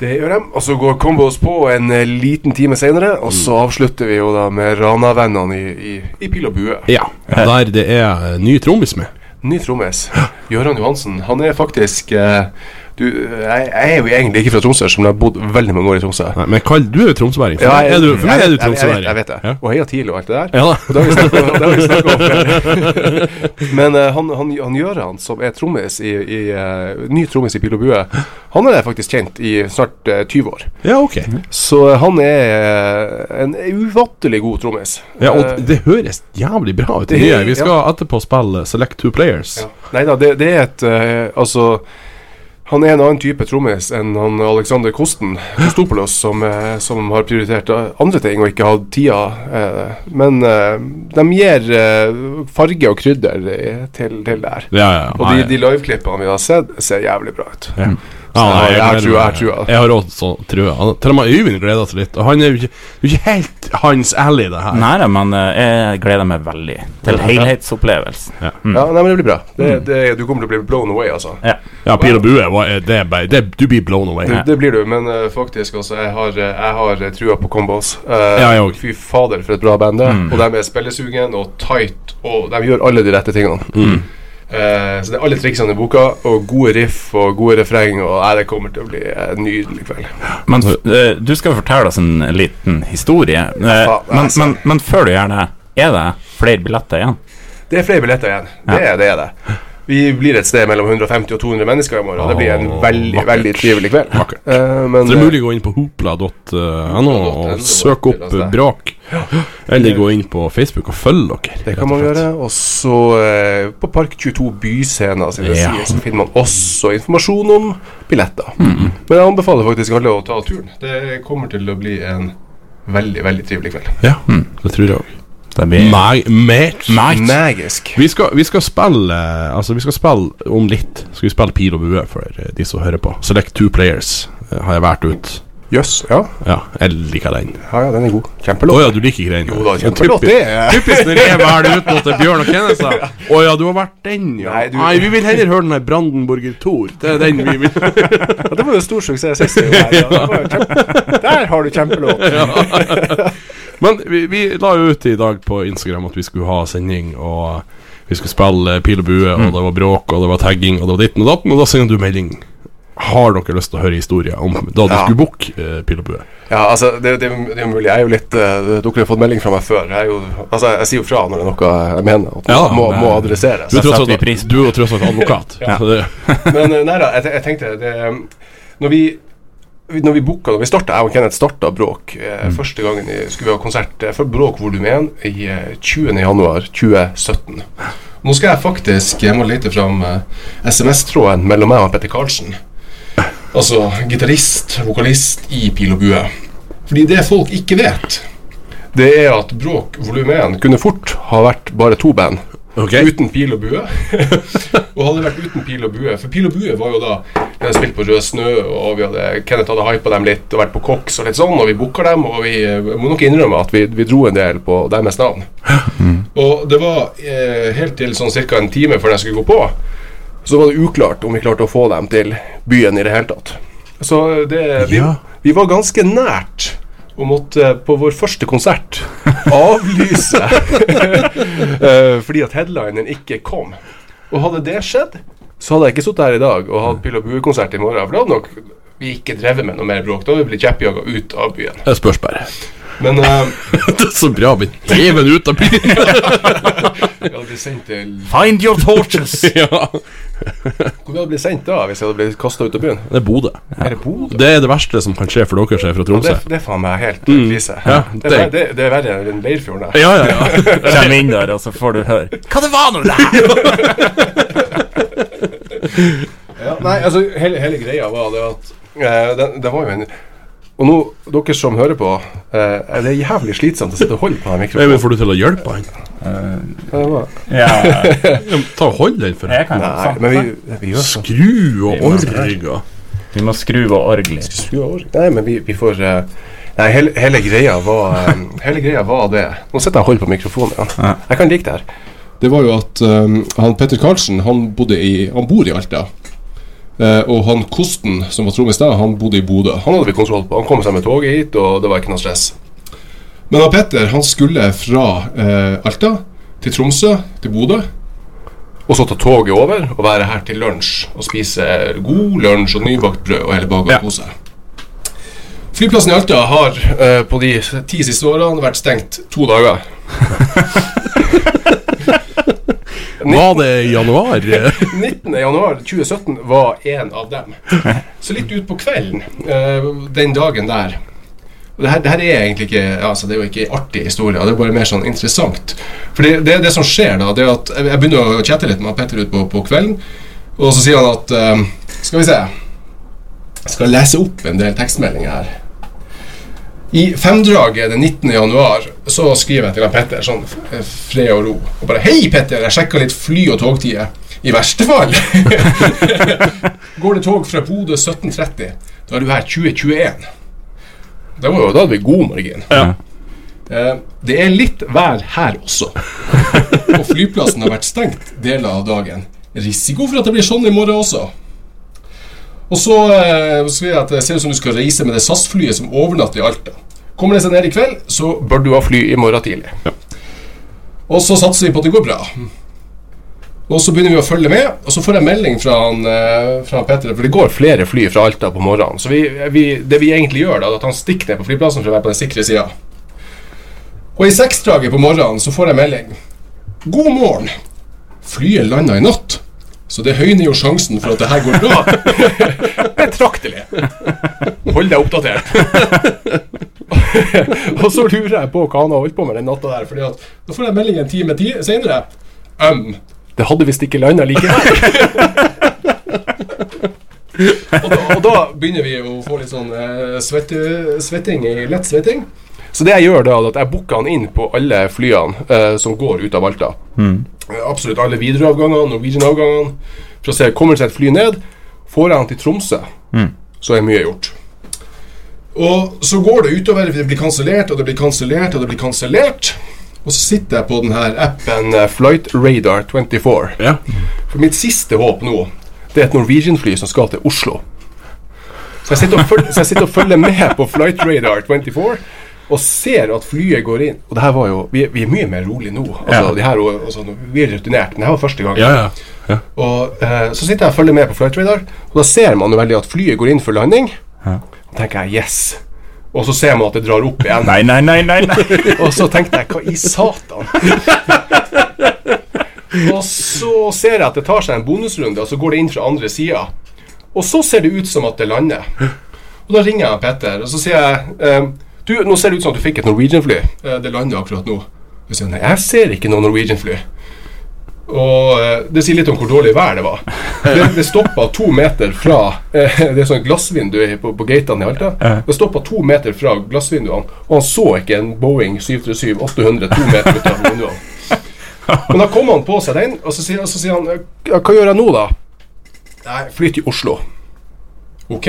E: Det gjør de. Og så går Combos på en eh, liten time senere, og
C: Mm.
E: så avslutter vi jo da med Rana-vennene i, i, i Pil og bue.
C: Ja. Der det er eh, ny trommis med.
E: Ny trommis. Gøran Johansen. Han er faktisk eh, du, jeg, jeg er jo egentlig ikke fra Tromsø, som har bodd veldig mange år i Tromsø.
C: Nei, men Karl, du er jo tromsøværing. For,
E: Ja,
C: meg er du- for meg er du
E: jeg- jeg- jeg vet-
C: tromsøværing.
E: Jeg vet det.
C: Ja.
E: Og heia TIL og alt det der.
C: Ja, da.
E: Og Det har vi snakket om- det har vi snakket om før.
C: <laughs>
E: Men eh, han, han, han Gjøran, som er trommis i, i eh, ny trommis i Pil og bue, han er jeg faktisk kjent i snart eh, 20 år.
C: ja, ok.
E: Så eh, han er eh, en ufattelig god trommis.
C: Ja,
E: Eh,
C: og det høres jævlig bra ut.
E: det-
C: Det, vi skal etterpå spille Select Two Players.
E: Nei da, det, det er et eh, Altså Han er en annen type trommis enn han Alexander Kosten Kostopoulos, som, eh, som har prioritert eh, andre ting og ikke hatt tida. eh, Men eh, de gir eh, farge og krydder eh, til, til det her.
C: Ja, ja.
E: Og de, de liveklippene vi har sett, ser jævlig bra ut.
C: Ja.
E: jeg- jeg
C: gleder
E: tror- jeg
C: meg.
E: tror-
C: Jeg har òg sånn trua. Han- Til og med Øyvind gleder seg litt. Og han er jo ikke, det er jo ikke helt hans alley, det her.
A: Nei da, men eh, jeg gleder meg veldig til helhetsopplevelsen.
E: Ja, nei, men det blir bra. Det, det, du kommer til å bli blown away, altså.
A: Ja.
C: Ja, pil og bue, hva er det, bare- det, du blir blown away.
E: Det, det blir du, men eh, faktisk, altså, jeg har, eh, jeg har eh, trua på Combos. Eh,
C: jeg Mm. òg.
E: fy fader, for et bra band det er. Og de er spillesugen og tight, og de gjør alle de rette tingene.
C: Mm.
E: Eh, så det er alle triksene i boka, og gode riff og gode refreng, og nei, det kommer til å bli eh, en nydelig kveld.
A: Men eh, du skal jo fortelle oss en liten historie. Eh,
E: Ja,
A: men,
E: altså.
A: men, men før du gjør det, er det flere billetter igjen?
E: Det er flere billetter igjen. Det er det. er det. Vi blir et sted mellom 150 og 200 mennesker i morgen, og det blir en
C: Åh,
E: veldig,
C: vakkert.
E: veldig trivelig kveld.
C: Vakkert.
E: Eh, men,
C: Så det er
E: eh,
C: mulig å gå inn på hopla.no og søke opp eh, brak. Eller gå inn på Facebook og følge dere.
E: Det
C: rett og
E: kan man
C: slett.
E: gjøre. Og så eh, på Park 22 Byscena sine
C: Ja. Mm,
E: sider så finner man også informasjon om billetter. Men jeg anbefaler faktisk alle å ta turen. Det kommer til å bli en veldig, veldig trivelig kveld.
C: Ja, det tror jeg òg.
A: Det blir
C: Mate.
E: Magisk.
C: Vi skal, vi skal spille eh, Altså, vi skal spille om litt. Skal vi spille Pil og bue for eh, de som hører på. Select two players eh, har jeg valgt ut.
E: Jøss. Ja.
C: Ja, jeg liker den.
E: ja, ja, den er god.
C: Å
E: Kjempelåt.
C: ja, du liker ikke den?
E: Jo da,
C: Ja,
E: kjempelåt,
C: typisk-
E: det er-
C: Typisk når jeg velger ut noe til Bjørn og Kenneth.
E: <laughs>
C: da. Å ja, du har vært den, ja. Nei,
E: Nei, du-
C: vi vil heller høre den her Brandenburger Thor. Det er den vi vil
E: Ja, det var jo en stor suksess sist. jo. Nei, ja, det var jo kjempe- Der har du kjempelåt.
C: Men vi, vi la jo ut i dag på Instagram at vi skulle ha sending, og vi skulle spille eh, Pil og bue, og det var bråk, og det var tagging, og det var ditten og datten, og da sender du melding. Har dere lyst til å høre historier om da du
E: Ja.
C: skulle booke eh, Pil og bue?
E: Ja, altså, det, det, det er jo mulig. Jeg er jo litt eh, Dere har fått melding fra meg før. Jeg, er jo, altså, jeg sier jo fra når det er noe jeg mener at
C: Ja,
E: må,
C: det-
E: må adresseres.
C: Du er tross
A: setter vi pris
C: alt, du er tross alt <laughs> advokat.
E: Ja.
C: så det,
E: Men eh, nei da, jeg, te- jeg tenkte det um, Når vi vi- når vi booka, når vi starta, jeg og Kenneth starta Bråk eh, Første gangen i, skulle vi ha konsert eh, for Bråk volum 1 i eh, 20. januar 2017. Nå skal jeg faktisk Jeg må lete fram eh, SMS-tråden mellom meg og Petter Karlsen. Altså gitarist, vokalist i Pil og bue. Fordi det folk ikke vet, det er at Bråk volum 1 kunne fort ha vært bare to band.
C: Ok.
E: Uten pil og bue. <laughs> og hadde vært uten pil og bue. For pil og bue var jo da Vi hadde spilt på Rød Snø, og vi hadde, Kenneth hadde hypa dem litt og vært på Cox og litt sånn, og vi booka dem, og vi eh, må nok innrømme at vi, vi dro en del på deres navn. Og det var eh, helt til sånn ca. en time før de skulle gå på, så var det uklart om vi klarte å få dem til byen i det hele tatt. Så det Vi,
C: Ja.
E: vi var ganske nært å måtte på vår første konsert avlyse <laughs> eh, fordi at headlineren ikke kom. Og hadde det skjedd, så hadde jeg ikke sittet her i dag og hatt Pil og bue-konsert i morgen. For da hadde nok vi ikke drevet med noe mer bråk. Da hadde vi blitt kjeppjaga ut av byen.
C: det spørs bare. <laughs>
E: Men eh,
C: Det er så bra vi dreven ut av byen!
E: vi hadde blitt sendt til
A: Find your <laughs> torches!
C: <laughs> ja.
E: Hvor vi hadde blitt sendt da hvis jeg hadde blitt kasta ut av byen?
C: Det er Bodø.
E: Er det Bodø?
C: Det er det verste som kan skje for dere som er fra
E: Det,
C: Tromsø.
E: det er faen meg helt mm. krise.
C: Ja,
E: det, er,
C: det-
E: det, det er verre enn Leirfjorden. jeg.
C: Ja, ja,
A: <laughs>
C: ja.
A: Kjem inn der, og så får du høre Hva det var nå det her?
E: Ja, nei, altså, hele, hele greia var det at eh, det, det var jo en Og nå, dere som hører på, eh, er det jævlig slitsomt å sitte og holde på den
C: Men
E: mikrofonen.
C: får du til å hjelpe han?
E: Det var-
A: Ja,
C: Ja, men Ta og Hold den for
A: jeg kan
E: Nei, men vi, vi gjør sånn.
C: Skru og org og
A: Vi må skru av orgelet.
E: Skru av org- Nei, men vi, vi får eh, Nei, hele, hele, greia var, eh, hele greia var det Nå sitter jeg og holder på mikrofonen. Ja. Jeg kan like det her. Det var jo at ehm, han Petter Karlsen han, bor i Alta. Eh, og han Kosten, som var trommis da, han bodde i Bodø. Han hadde vi kontroll på. Han kom seg med toget hit, og det var ikke noe stress. Men han Petter han skulle fra eh, Alta til Tromsø, til Bodø. Og så ta toget over og være her til lunsj og spise god lunsj og nybakt brød og hele baga
C: Ja.
E: og kose. Flyplassen i Alta har eh, på de ti siste årene vært stengt to dager.
C: Var det i januar?
E: 19. januar 2017 var en av dem. Så litt ut på kvelden eh, den dagen der og det her, det her er egentlig ikke altså det er jo ikke en artig historie, det er bare mer sånn interessant. For det, det, det som skjer da, det er at jeg jeg begynner å chatte litt med han Petter utpå på kvelden, og så sier han at eh, Skal vi se. Jeg skal lese opp en del tekstmeldinger her. I femdraget den 19. januar så skriver jeg til han Petter sånn eh, fred og ro. Og bare 'Hei, Petter, jeg sjekka litt fly- og togtider.' I verste fall <laughs> går det tog fra Bodø 17.30. Da er du her 2021. Det var jo, da hadde vi god margin. Eh, Det er litt vær her også. Og flyplassen har vært stengt deler av dagen. Risiko for at det blir sånn i morgen også. Og så eh, skriver jeg at det ser ut som du skal reise med det SAS-flyet som overnatter i Alta. Kommer det seg ned i kveld, så bør du ha fly i morgen tidlig. Og så satser vi på at det går bra. Og så begynner vi å følge med, og så får jeg melding fra, han, eh, fra Peter, for det går flere fly fra Alta på morgenen. Så vi, vi, det vi egentlig gjør, da, er at han stikker ned på flyplassen for å være på den sikre sida. Og i seksdraget på morgenen så får jeg melding. God morgen. Flyet landa i natt, så det høyner jo sjansen for at det her går bra. Betraktelig. Hold deg oppdatert. <laughs> og så lurer jeg på hva han har holdt på med den natta der, Fordi at da får jeg melding en time ti seinere. Um, det hadde visst ikke landa likevel. <laughs> og, da, og da begynner vi å få litt sånn eh, svette, svetting i lett svetting. Så det jeg gjør da, er at jeg booker han inn på alle flyene eh, som går ut av Alta. Eh, Absolutt alle Widerøe-avgangene, Norwegian-avgangene. For å se, kommer det seg et fly ned, får jeg han til Tromsø, så er mye gjort. Og så går det utover, det blir kansellert, og det blir kansellert, og det blir kansellert. Og så sitter jeg på den her appen eh, Flight Radar 24.
C: Ja.
E: For mitt siste håp nå, det er et Norwegian-fly som skal til Oslo. Så jeg sitter og, føl så jeg sitter og følger med på Flight Radar 24 og ser at flyet går inn. Og det her var jo Vi, vi er mye mer rolig nå. Altså,
A: Ja.
E: de her, og, og sånn, vi er rutinert, men det her var første gang.
C: Ja, ja. ja.
E: Og eh, Så sitter jeg og følger med på Flight Radar, og da ser man jo veldig at flyet går inn for landing. Og tenker jeg 'yes'. Og så ser man at det drar opp igjen.
A: <laughs> Nei, nei, nei, nei, nei.
E: Og så tenkte jeg, hva i satan? og så ser jeg at det tar seg en bonusrunde, og så går det inn fra andre sida. Og så ser det ut som at det lander. Og da ringer jeg Petter, og så sier jeg ehm, Du, nå ser det ut som at du fikk et Norwegian-fly. Eh, Det lander akkurat nå. Og så sier han nei, jeg ser ikke noe Norwegian-fly. Og eh, det sier litt om hvor dårlig vær det var. Det, det stoppa to meter fra eh, Det er sånn glassvindu i- på, på gatene i Alta. Det stoppa to meter fra glassvinduene, og han så ikke en Boeing 737-800 to meter utenfor vinduene. Men da kom han på seg den, og så sier, så sier han «Ja, Hva gjør jeg nå, da? Nei, fly til Oslo. Ok,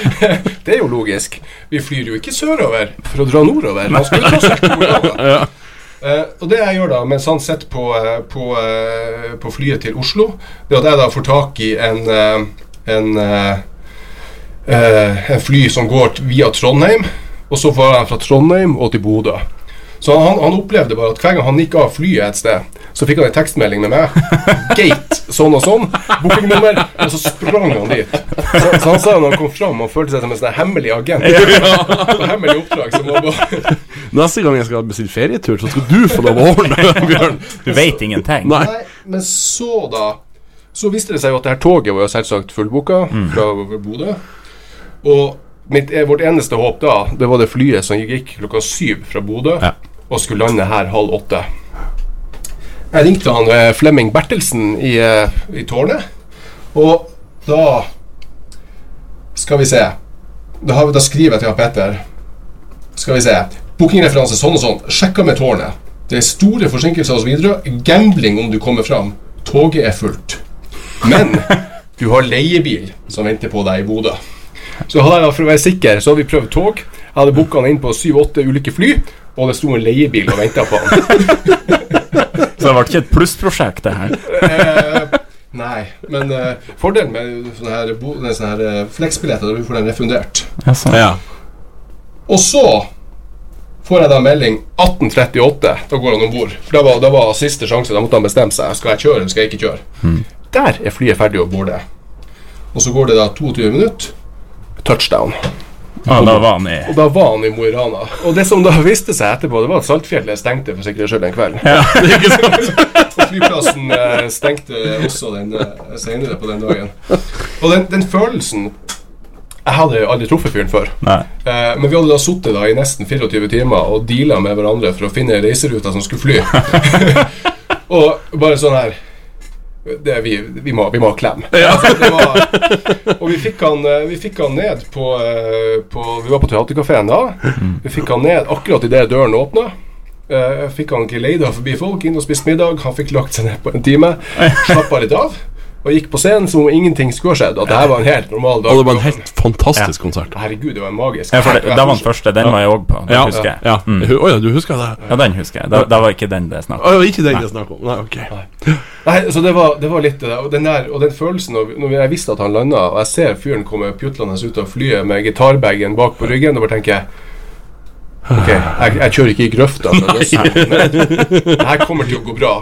E: <laughs> det er jo logisk. Vi flyr jo ikke sørover for å dra nordover. Man skal jo tross alt til Nordland. Eh, og det jeg gjør da, mens han sitter på, eh, på, eh, på flyet til Oslo, det er at jeg da får tak i en, eh, en, eh, eh, en fly som går t- via Trondheim, og så får han fra Trondheim og til Bodø. Så han, han opplevde bare at hver gang han gikk av flyet et sted, så fikk han en tekstmelding med meg. Gate, sånn og sånn. Bookingnummer. Og så sprang han dit. Så, så han sa når han kom fram, han følte seg som en sånn hemmelig agent. På <laughs> hemmelig oppdrag. Så man bare
C: Neste gang jeg skal bestille ferietur, så skal du få lov å ordne, Bjørn.
A: Du veit ingenting.
C: Nei.
E: Nei, men så da Så viste det seg jo at det her toget var jo selvsagt fullboka fra Bodø. Og mitt, eh, vårt eneste håp da, det var det flyet som gikk klokka syv fra Bodø
A: Ja.
E: og skulle lande her halv åtte. Jeg ringte han eh, Flemming Bertelsen i, eh, i tårnet, og da Skal vi se. Da, har vi, da skriver jeg til han Petter skal vi se. Bookingreferanse sånn og sånn. Sjekka med tårnet. Det er store forsinkelser hos Widerøe. Gambling om du kommer fram. Toget er fullt. Men du har leiebil som venter på deg i Bodø. Så hadde jeg, da- for å være sikker, så hadde vi prøvd tog. Jeg hadde booka han inn på syv-åtte ulike fly, og det sto en leiebil og venta på han.
A: Så det ble ikke et plussprosjekt, det her.
E: <laughs> Eh, Nei, men eh, fordelen med sånne her, bo- nei, sånne her eh, fleksbilletter er at du får dem refundert.
C: Ja.
E: Og så får jeg da melding 1838. Da går han om bord. For da var, da var siste sjanse. Da måtte han bestemme seg. Skal jeg kjøre, eller skal jeg ikke kjøre? Der er flyet ferdig å borde. Og så går det da 22 minutter. Touchdown.
A: Ja, da var han i
E: Og da var han i Mo i Rana. Og det som da viste seg etterpå, det var at Saltfjellet stengte for sikkerhets skyld den kvelden. <laughs> og flyplassen eh, stengte også den eh, senere på den dagen. Og den, den følelsen Jeg hadde jo aldri truffet fyren før.
A: Nei.
E: Eh, men vi hadde da sittet da i nesten 24 timer og deala med
C: <laughs>
E: hverandre for å finne reiseruta som skulle fly. og bare sånn her det, vi, vi, må, vi må ha klem. Altså, <laughs> det var, og vi fikk han, eh, vi fikk han ned på, eh, på Vi var på teaterkafeen da. Vi fikk han ned akkurat idet døren åpna. Eh, fikk han ikke leida forbi folk, inn og spist middag. Han fikk lagt seg ned på en time. Slappa litt av. Og gikk på scenen som om ingenting skulle ha skjedd. At det her var en helt normal dag.
C: Og det var en helt fantastisk konsert.
E: Herregud, det var en magisk.
A: Ja, for det, det var den første. Den var jeg òg på. Den
C: Ja.
A: husker jeg.
C: Ja. Hu- Å ja, du husker det?
A: Ja, den husker jeg. Da, da var ikke den det er snakk om.
C: Å, ja, ikke den jeg snakker om. Nei, ok.
E: Nei, så det var, det var litt det der. Og den, der, og den følelsen når, vi- når jeg visste at han landa, og jeg ser fyren komme pjutlende ut av flyet med gitarbagen bak på ryggen, og bare tenker jeg, Ok, jeg, jeg kjører ikke i grøfta. for å løse det her. Det her kommer til å gå bra.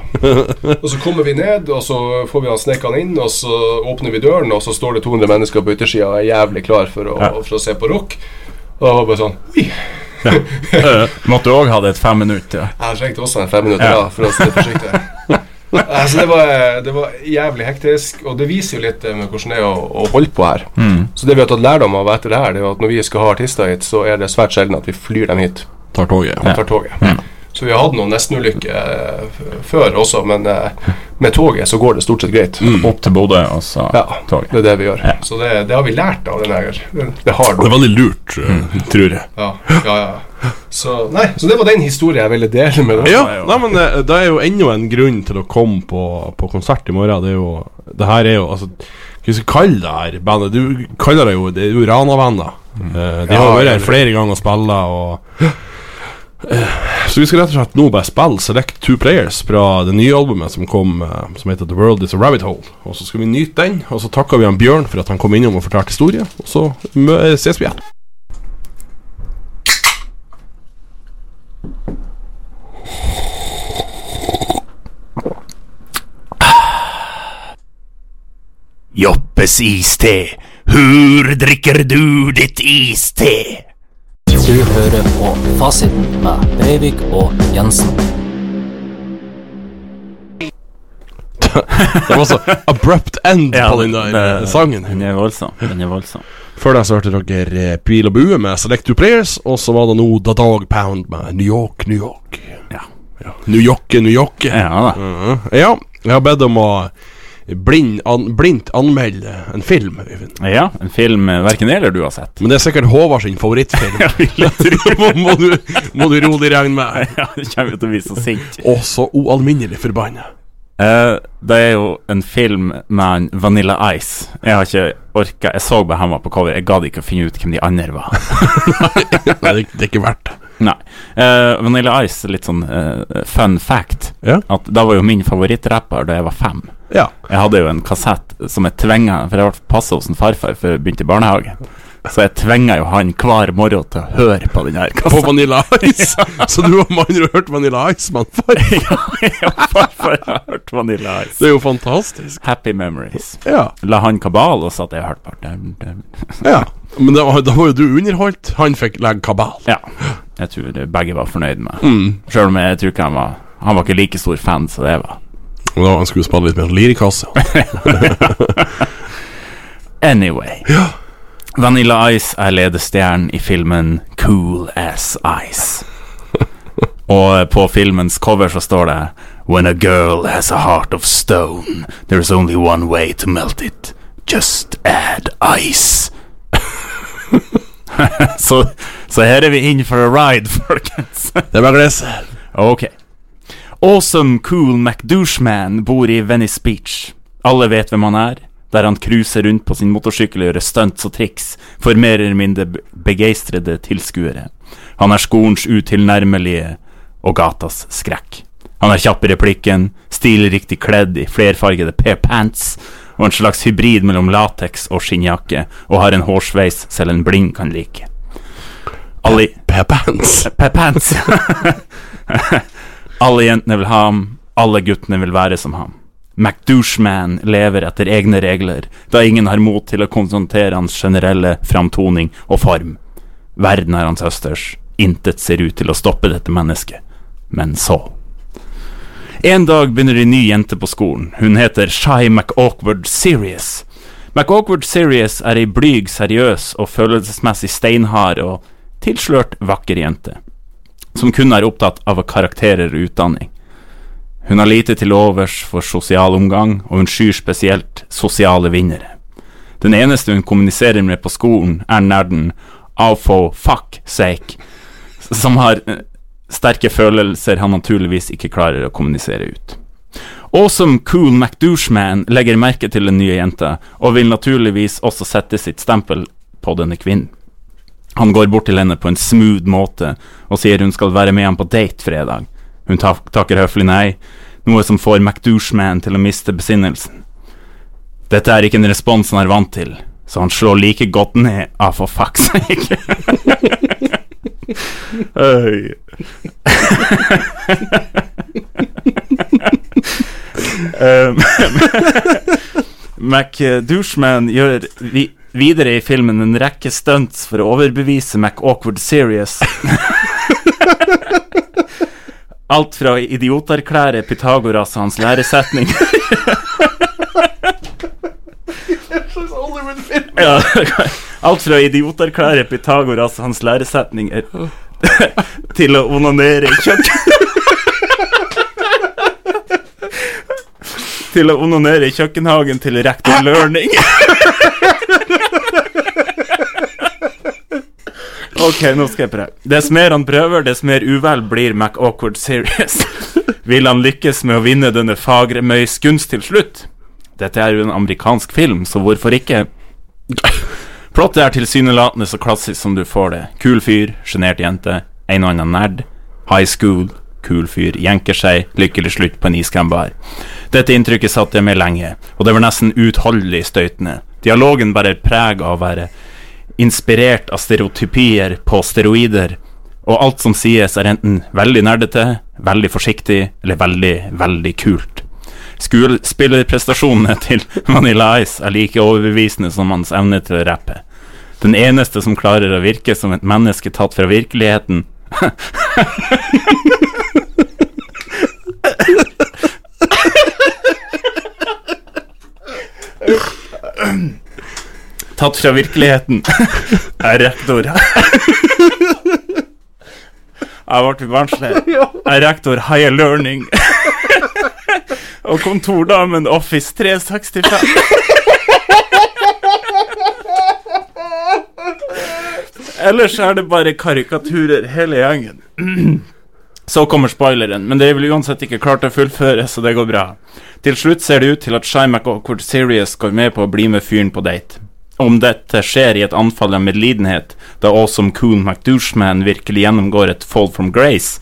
E: Og så kommer vi ned, og så får vi han snekka inn, og så åpner vi døren, og så står det 200 mennesker på yttersida og er jævlig klar for å, for å se på rock. Og da var det bare sånn Oi!
A: Måtte òg ha det et fem minutter.
E: Jeg trengte også en fem minutter
A: Ja.
E: da, for å si det forsiktig.
C: <laughs>
E: altså, det, var, det var jævlig hektisk, og det viser jo litt eh, med hvordan det er å, å holde på her.
C: Mm.
E: Så det vi har tatt lærdom av etter det her, det er jo at når vi skal ha artister hit, så er det svært sjelden at vi flyr dem hit
C: Tar toget.
E: og tar toget.
C: Mm.
E: Så vi har hatt noen nestenulykker eh, f- før også, men eh, med toget så går det stort sett greit.
C: Mm.
A: Opp til Bodø, og så
E: Ja,
A: tog.
E: det er det vi gjør. Så det, det har vi lært av den her. Det har
C: Det er veldig lurt, eh, tror jeg.
E: Ja, ja, ja. Så, nei, så det var den historien jeg ville dele med dere.
C: Ja, nei, men eh, det er jo enda en grunn til å komme på, på konsert i morgen. Det er jo Det her er jo altså Hva skal vi kalle det her bandet? Du kaller det jo Det er jo Rana-venner. Eh, de har
E: Ja,
C: vært her
E: eller-
C: flere ganger og spilla og Eh, Så vi skal rett og slett nå bare spille Select Two Players fra det nye albumet som kom, eh, som heter The World Is A Rabbit Hole. Og så skal vi nyte den, og så takker vi han Bjørn for at han kom innom og fortalte historie, og så mø- ses vi igjen.
F: Joppes iste. Hur drikker du ditt iste?
D: Du hører på Fasiten med Breivik og Jensen.
C: Det var så abrupt end
A: Ja,
C: på den der eh, sangen.
A: Den er voldsom. Den er voldsom.
C: Før det så hørte dere eh, Pil og bue med Select Two Players, og så var det nå The Dog Pound med New York, New York.
A: Ja.
C: New York, New York.
A: Ja da.
C: Mhm. ja, jeg har bedt om å blind, an, blindt anmelde en film, Øyvind.
A: Ja, en film eh, verken jeg eller du har sett.
C: Men det er sikkert Håvard sin
A: <laughs>
C: favorittfilm. <laughs> må, må, du, må du rolig regne med.
A: Ja, det kommer jo til å bli så sint.
C: Og så ualminnelig forbanna.
A: Eh, det er jo en film med en Vanilla Ice. Jeg har ikke orka Jeg så bare han var på cover. Jeg gadd ikke å finne ut hvem de andre var. <laughs>
C: Nei, det, det er ikke verdt det.
A: Nei. Eh, Vanilla Ice, litt sånn eh, fun fact.
C: Ja.
A: At Da var jo min favorittrapper da jeg var fem.
C: Ja.
A: Jeg hadde jo en kassett som jeg tvinga For jeg ble passa hos en farfar før jeg begynte i barnehage. Så jeg tvinga jo han hver morgen til å høre på den her
C: På
A: kassetten. <laughs>
C: Vanilla Ice. <laughs> Så du har med andre ord hørt Vanilla Ice, mann. For-
A: Ja, farfar har hørt Vanilla
C: Det
A: Ice.
C: er jo fantastisk.
A: Happy memories.
C: Ja.
A: La han kabal, og så at jeg hørte på
C: Ja, men da, da var jo du underholdt. Han fikk legge kabal.
A: Ja. Jeg tror begge var fornøyd med
C: Mm.
A: Selv om jeg tror ikke han var Han var ikke like stor fan som det var.
C: Og da han skulle spille litt mer lirikasse.
A: Anyway. Vanilla Ice er ledestjernen i filmen Cool As Ice. Og eh, på filmens cover så står det When a girl has a heart of stone, there's only one way to melt it. Just add ice. <laughs> så, så her er vi in for a ride, folkens.
C: Det er bare å glede seg.
A: Ok. Awesome Cool McDoucheman bor i Venice Beach. Alle vet hvem han er, der han cruiser rundt på sin motorsykkel og gjør stunts og triks for mer eller mindre be- begeistrede tilskuere. Han er skolens utilnærmelige og gatas skrekk. Han er kjapp i replikken, stilriktig kledd i flerfargede p-pants og en slags hybrid mellom lateks og skinnjakke, og har en hårsveis selv en blind kan like. Alle
C: P-pants.
A: Pepans. alle jentene vil ha ham, alle guttene vil være som ham. McDoucheman lever etter egne regler, da ingen har mot til å konfrontere hans generelle framtoning og form. Verden er hans søsters, intet ser ut til å stoppe dette mennesket. Men så En dag begynner en ny jente på skolen, hun heter Shy McAwkward Serious. McAwkward Serious er ei blyg, seriøs og følelsesmessig steinhard og tilslørt vakker jente, som kun er opptatt av karakterer og utdanning. Hun har lite til overs for sosial omgang, og hun skyr spesielt sosiale vinnere. Den eneste hun kommuniserer med på skolen, er nerden av for fuck sake, som har eh, sterke følelser han naturligvis ikke klarer å kommunisere ut. Awesome Cool McDoucheman legger merke til den nye jenta, og vil naturligvis også sette sitt stempel på denne kvinnen. Han går bort til henne på en smooth måte og sier hun skal være med ham på date fredag. Hun ta takker høflig nei, noe som får McDoucheman til å miste besinnelsen. Dette er ikke en respons han er vant til, så han slår like godt ned av for fuck's sake. <laughs> Øy. <laughs> Um, McDoucheman gjør vi videre i filmen en rekke stunts for å overbevise McAwkward Serious. <laughs> Alt fra å idioterklære Pythagoras og hans læresetning <laughs> ja, Alt fra å idioterklære Pythagoras og hans læresetninger <laughs> til å onanere i kjøkken Til å onanere i kjøkkenhagen til rektor learning. Ok, nå skal jeg prøve. Dess mer han prøver, dess mer uvel blir MacAwkward Serious. Vil han lykkes med å vinne denne fagre møys gunst til slutt? Dette er jo en amerikansk film, så hvorfor ikke? Plottet er tilsynelatende så klassisk som du får det. Kul fyr, sjenert jente, en og annen nerd. High school, kul fyr, jenker seg, lykkelig slutt på en iskrembar. Dette inntrykket satt jeg med lenge, og det var nesten uutholdelig støytende. Dialogen bærer preg av å være inspirert av stereotypier på steroider, og alt som sies er enten veldig nerdete, veldig forsiktig eller veldig, veldig kult. Skuespillerprestasjonene til Vanilla Ice er like overbevisende som hans evne til å rappe. Den eneste som klarer å virke som et menneske tatt fra virkeligheten Tatt fra virkeligheten er rektor Jeg ble barnslig. Er rektor Higher Learning. <laughs> Og kontordamen Office 365. Ellers er det bare karikaturer, hele gjengen. <clears throat> Så kommer spoileren, men det er vel uansett ikke klart å fullføre, så det går bra. Til slutt ser det ut til at Shymack og Awkward Serious går med på å bli med fyren på date. Om dette skjer i et anfall av medlidenhet, da Awesome Cool McDoucheman virkelig gjennomgår et fall from grace,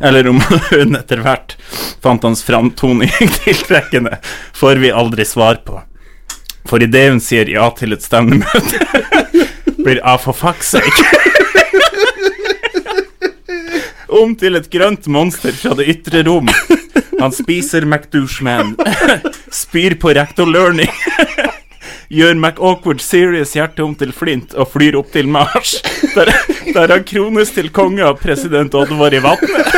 A: eller om <laughs> hun etter hvert fant hans framtoning <laughs> tiltrekkende, får vi aldri svar på. For idet hun sier ja til et stevnemøte, <laughs> blir ah, for fuck's sake <laughs> om til et grønt monster fra det ytre rom. Han spiser McDoucheman, <laughs> spyr på Rector Learning, <laughs> gjør McAwkward Serious hjerte om til flint og flyr opp til Mars, der, der han krones til konge av president Oddvar i vannet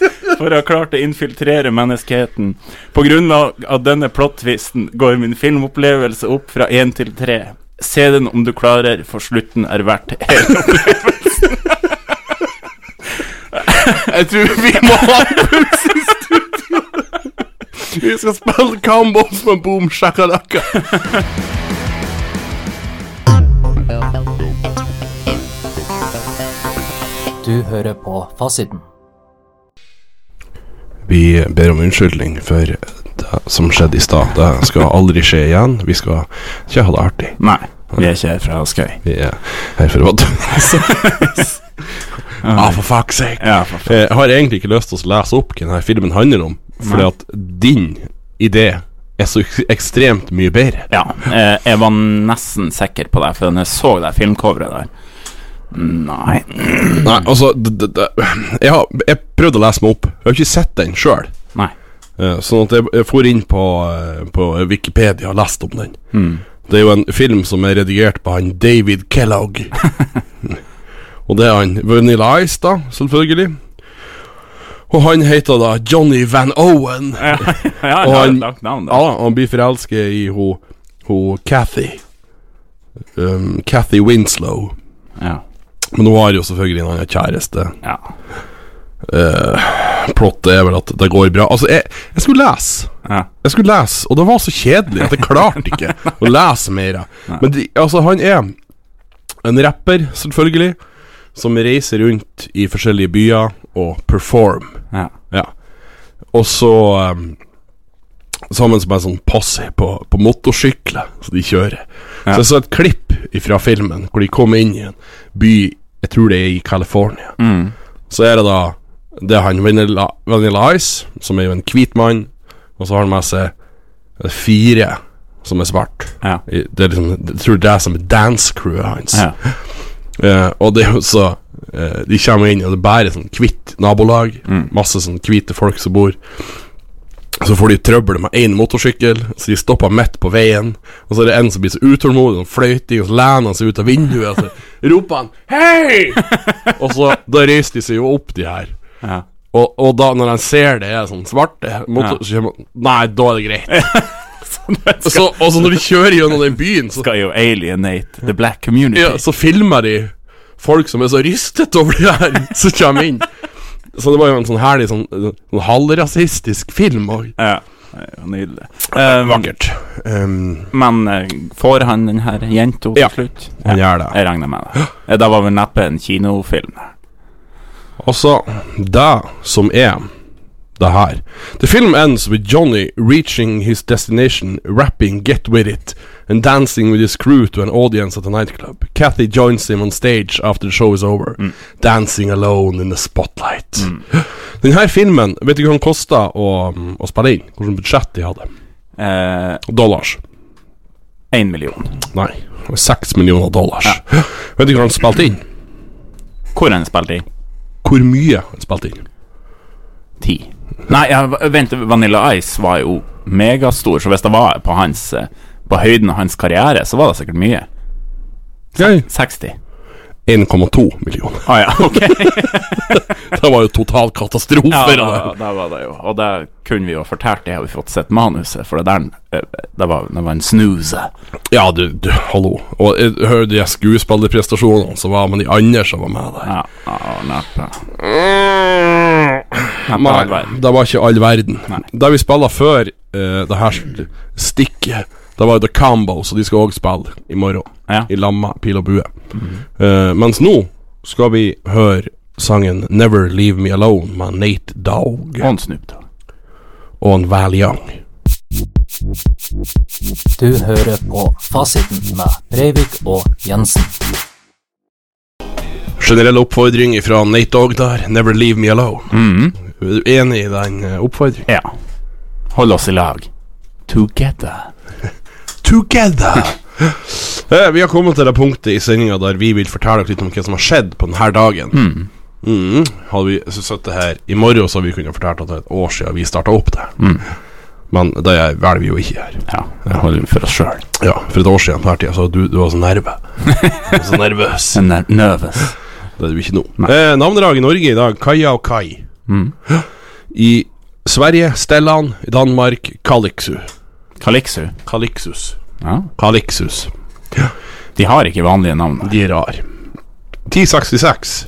A: <laughs> for å ha klart å infiltrere menneskeheten. På grunnlag av denne plottvisten går min filmopplevelse opp fra én til tre. Se den om du klarer, for slutten er verdt hele opplevelsen. Jeg tror vi må ha
C: Vi skal spille combos med boom shakalaka.
D: Du hører på Fasiten.
C: Vi ber om unnskyldning for det som skjedde i stad. Det skal aldri skje igjen. Vi skal ikke ha det artig.
A: Nei, vi er ikke her fra Askøy.
C: Vi er her for å <laughs> Ah, for fuck's sake.
A: Ja, for faen.
C: Eh, Jeg har egentlig ikke lyst til å lese opp hva denne filmen handler om, fordi at din idé er så ek- ekstremt mye bedre.
A: Ja, eh, jeg var nesten sikker på det, for når jeg så det filmcoveret der Nei
C: Nei, altså d d d jeg, har, jeg prøvde å lese meg opp. Jeg har ikke sett den sjøl.
A: Nei.
C: Sånn at jeg, jeg for inn på, eh, på Wikipedia og leste om den. Det er jo en film som er redigert på han David Kellogg. og det er han Vanilla Ice, da, selvfølgelig. Og han heter da Johnny Van Owen.
A: Ja, jeg
C: Og
A: har
C: han-
A: et langt navn,
C: Ja,
A: da.
C: da, han blir forelsket i ho, ho Kathy. Um, Kathy Winslow.
A: Ja.
C: Men hun har jo selvfølgelig en annen kjæreste.
A: ja.
C: plottet er vel at det går bra. Altså, jeg, jeg skulle lese.
A: Ja.
C: Jeg skulle lese, og det var så kjedelig at jeg klarte ikke
A: <laughs>
C: å lese mer. Men de, altså, han er en rapper, selvfølgelig, som reiser rundt i forskjellige byer og perform.
A: Ja.
C: Ja. Og så um, sammen med en sånn posse på, på motorsykler som de kjører. Så jeg så et klipp fra filmen hvor de kom inn i en by, jeg tror det er i California. Så er det da Det er han Vanilla, Vanilla Ice, som er jo en hvit mann, og så har han med seg eh, fire som er svart.
A: Ja.
C: I- Det er liksom, jeg tror det er som er dance-crewet hans.
A: Ja.
C: Eh, og det er jo så eh, De kommer inn, og det er bare sånn hvitt nabolag. Masse sånn hvite folk som bor. Så får de trøbbel med én motorsykkel, så de stopper midt på veien. Og så er det en som blir så utålmodig, og fløyter, og så lener han seg ut av vinduet, og så roper han 'Hei!' og så da reiser de seg jo opp, de her.
A: Ja.
C: Og, og da når han ser det er sånn svarte motor, så kommer han Nei, da er det greit. Og så, og så når de kjører gjennom den byen, så
A: Skal jo alienate the black community.
C: ja, så filmer de folk som er så rystet over det her, <laughs> som kommer inn. Så det var jo en sånn herlig sånn, sånn halvrasistisk film òg.
A: Ja, det er jo Nydelig. Eh,
C: Vakkert. Um,
A: Men eh, får han den her jenta til
C: Ja,
A: slutt?
C: han gjør det.
A: Jeg regner med det. Eh, Det var vel neppe en kinofilm.
C: altså, det som er det her The film ends with Johnny reaching his destination, rapping 'Get With It' and dancing with his crew to an audience at a nightclub. Kathy joins him on stage after the show is over, dancing alone in the spotlight. <gasps> Denne filmen, vet du hva den kosta å, å spille inn? Hvilket budsjett de hadde?
A: Én
C: Dollars.
A: Eh, million.
C: Nei, seks millioner dollars. <gasps> Vet du hva han spilte inn?
A: Hvor han spilte i?
C: Hvor mye han spilte inn?
A: Ti. Nei, ja, v- vent, Vanilla Ice var jo megastor, så hvis det var på hans eh, På høyden av hans karriere, så var det sikkert mye. 60.
C: 1,2 millioner.
A: Å ah, ja, ok. <laughs>
C: Det var jo total katastrofe.
A: Ja,
C: det
A: da,
C: der.
A: da var det jo. Og det kunne vi jo fortalt, det har vi fått sett manuset, for det der eh, Det var, det var en snooze.
C: Ja, du, du, hallo. Og jeg hører de skuespillerprestasjonene som var med de andre som var med der.
A: Ja, ja, neppe.
C: Nei,
A: Neppe all verden.
C: det var ikke all verden. Det vi spilla før eh, det her stikket, det var jo The Combo, så de skal òg spille i morgen.
A: Ja.
C: I Lamma, pil og bue.
A: Mhm.
C: Eh, mens nå skal vi høre sangen 'Never Leave Me Alone' med Nate Dog
A: Og en Snoop Dogg.
C: og en Val Young.
D: Du hører på Fasiten med Breivik og Jensen.
C: Generell oppfordring fra Nate Dog der 'Never Leave Me Alone'.
A: Mhm.
C: Er du enig i den eh, oppfordringen?
A: Ja. Hold oss i lag. Together.
C: together. <laughs> Eh, vi har kommet til det punktet i sendinga der vi vil fortelle dere litt om hva som har skjedd på denne dagen. Mm. Hadde vi s- sittet her i morgen, så hadde vi kunnet fortalt at det er et år siden vi starta opp det. Men det er- velger vi jo ikke her.
A: Ja, det Mm. holder vi for oss sjøl.
C: Ja, For et år siden på denne tida, så var du, du var så nerve. Du var så nervøs.
A: Nervøs.
C: Det er du ikke nå. Eh, navnedag i Norge i dag, Kaja og Kai.
A: Mm.
C: I Sverige, Stellan. I Danmark, Kalixu.
A: Kalixu.
C: Kalixus.
A: Ja.
C: Kalixus.
A: De har ikke vanlige navn.
C: De er rar 1066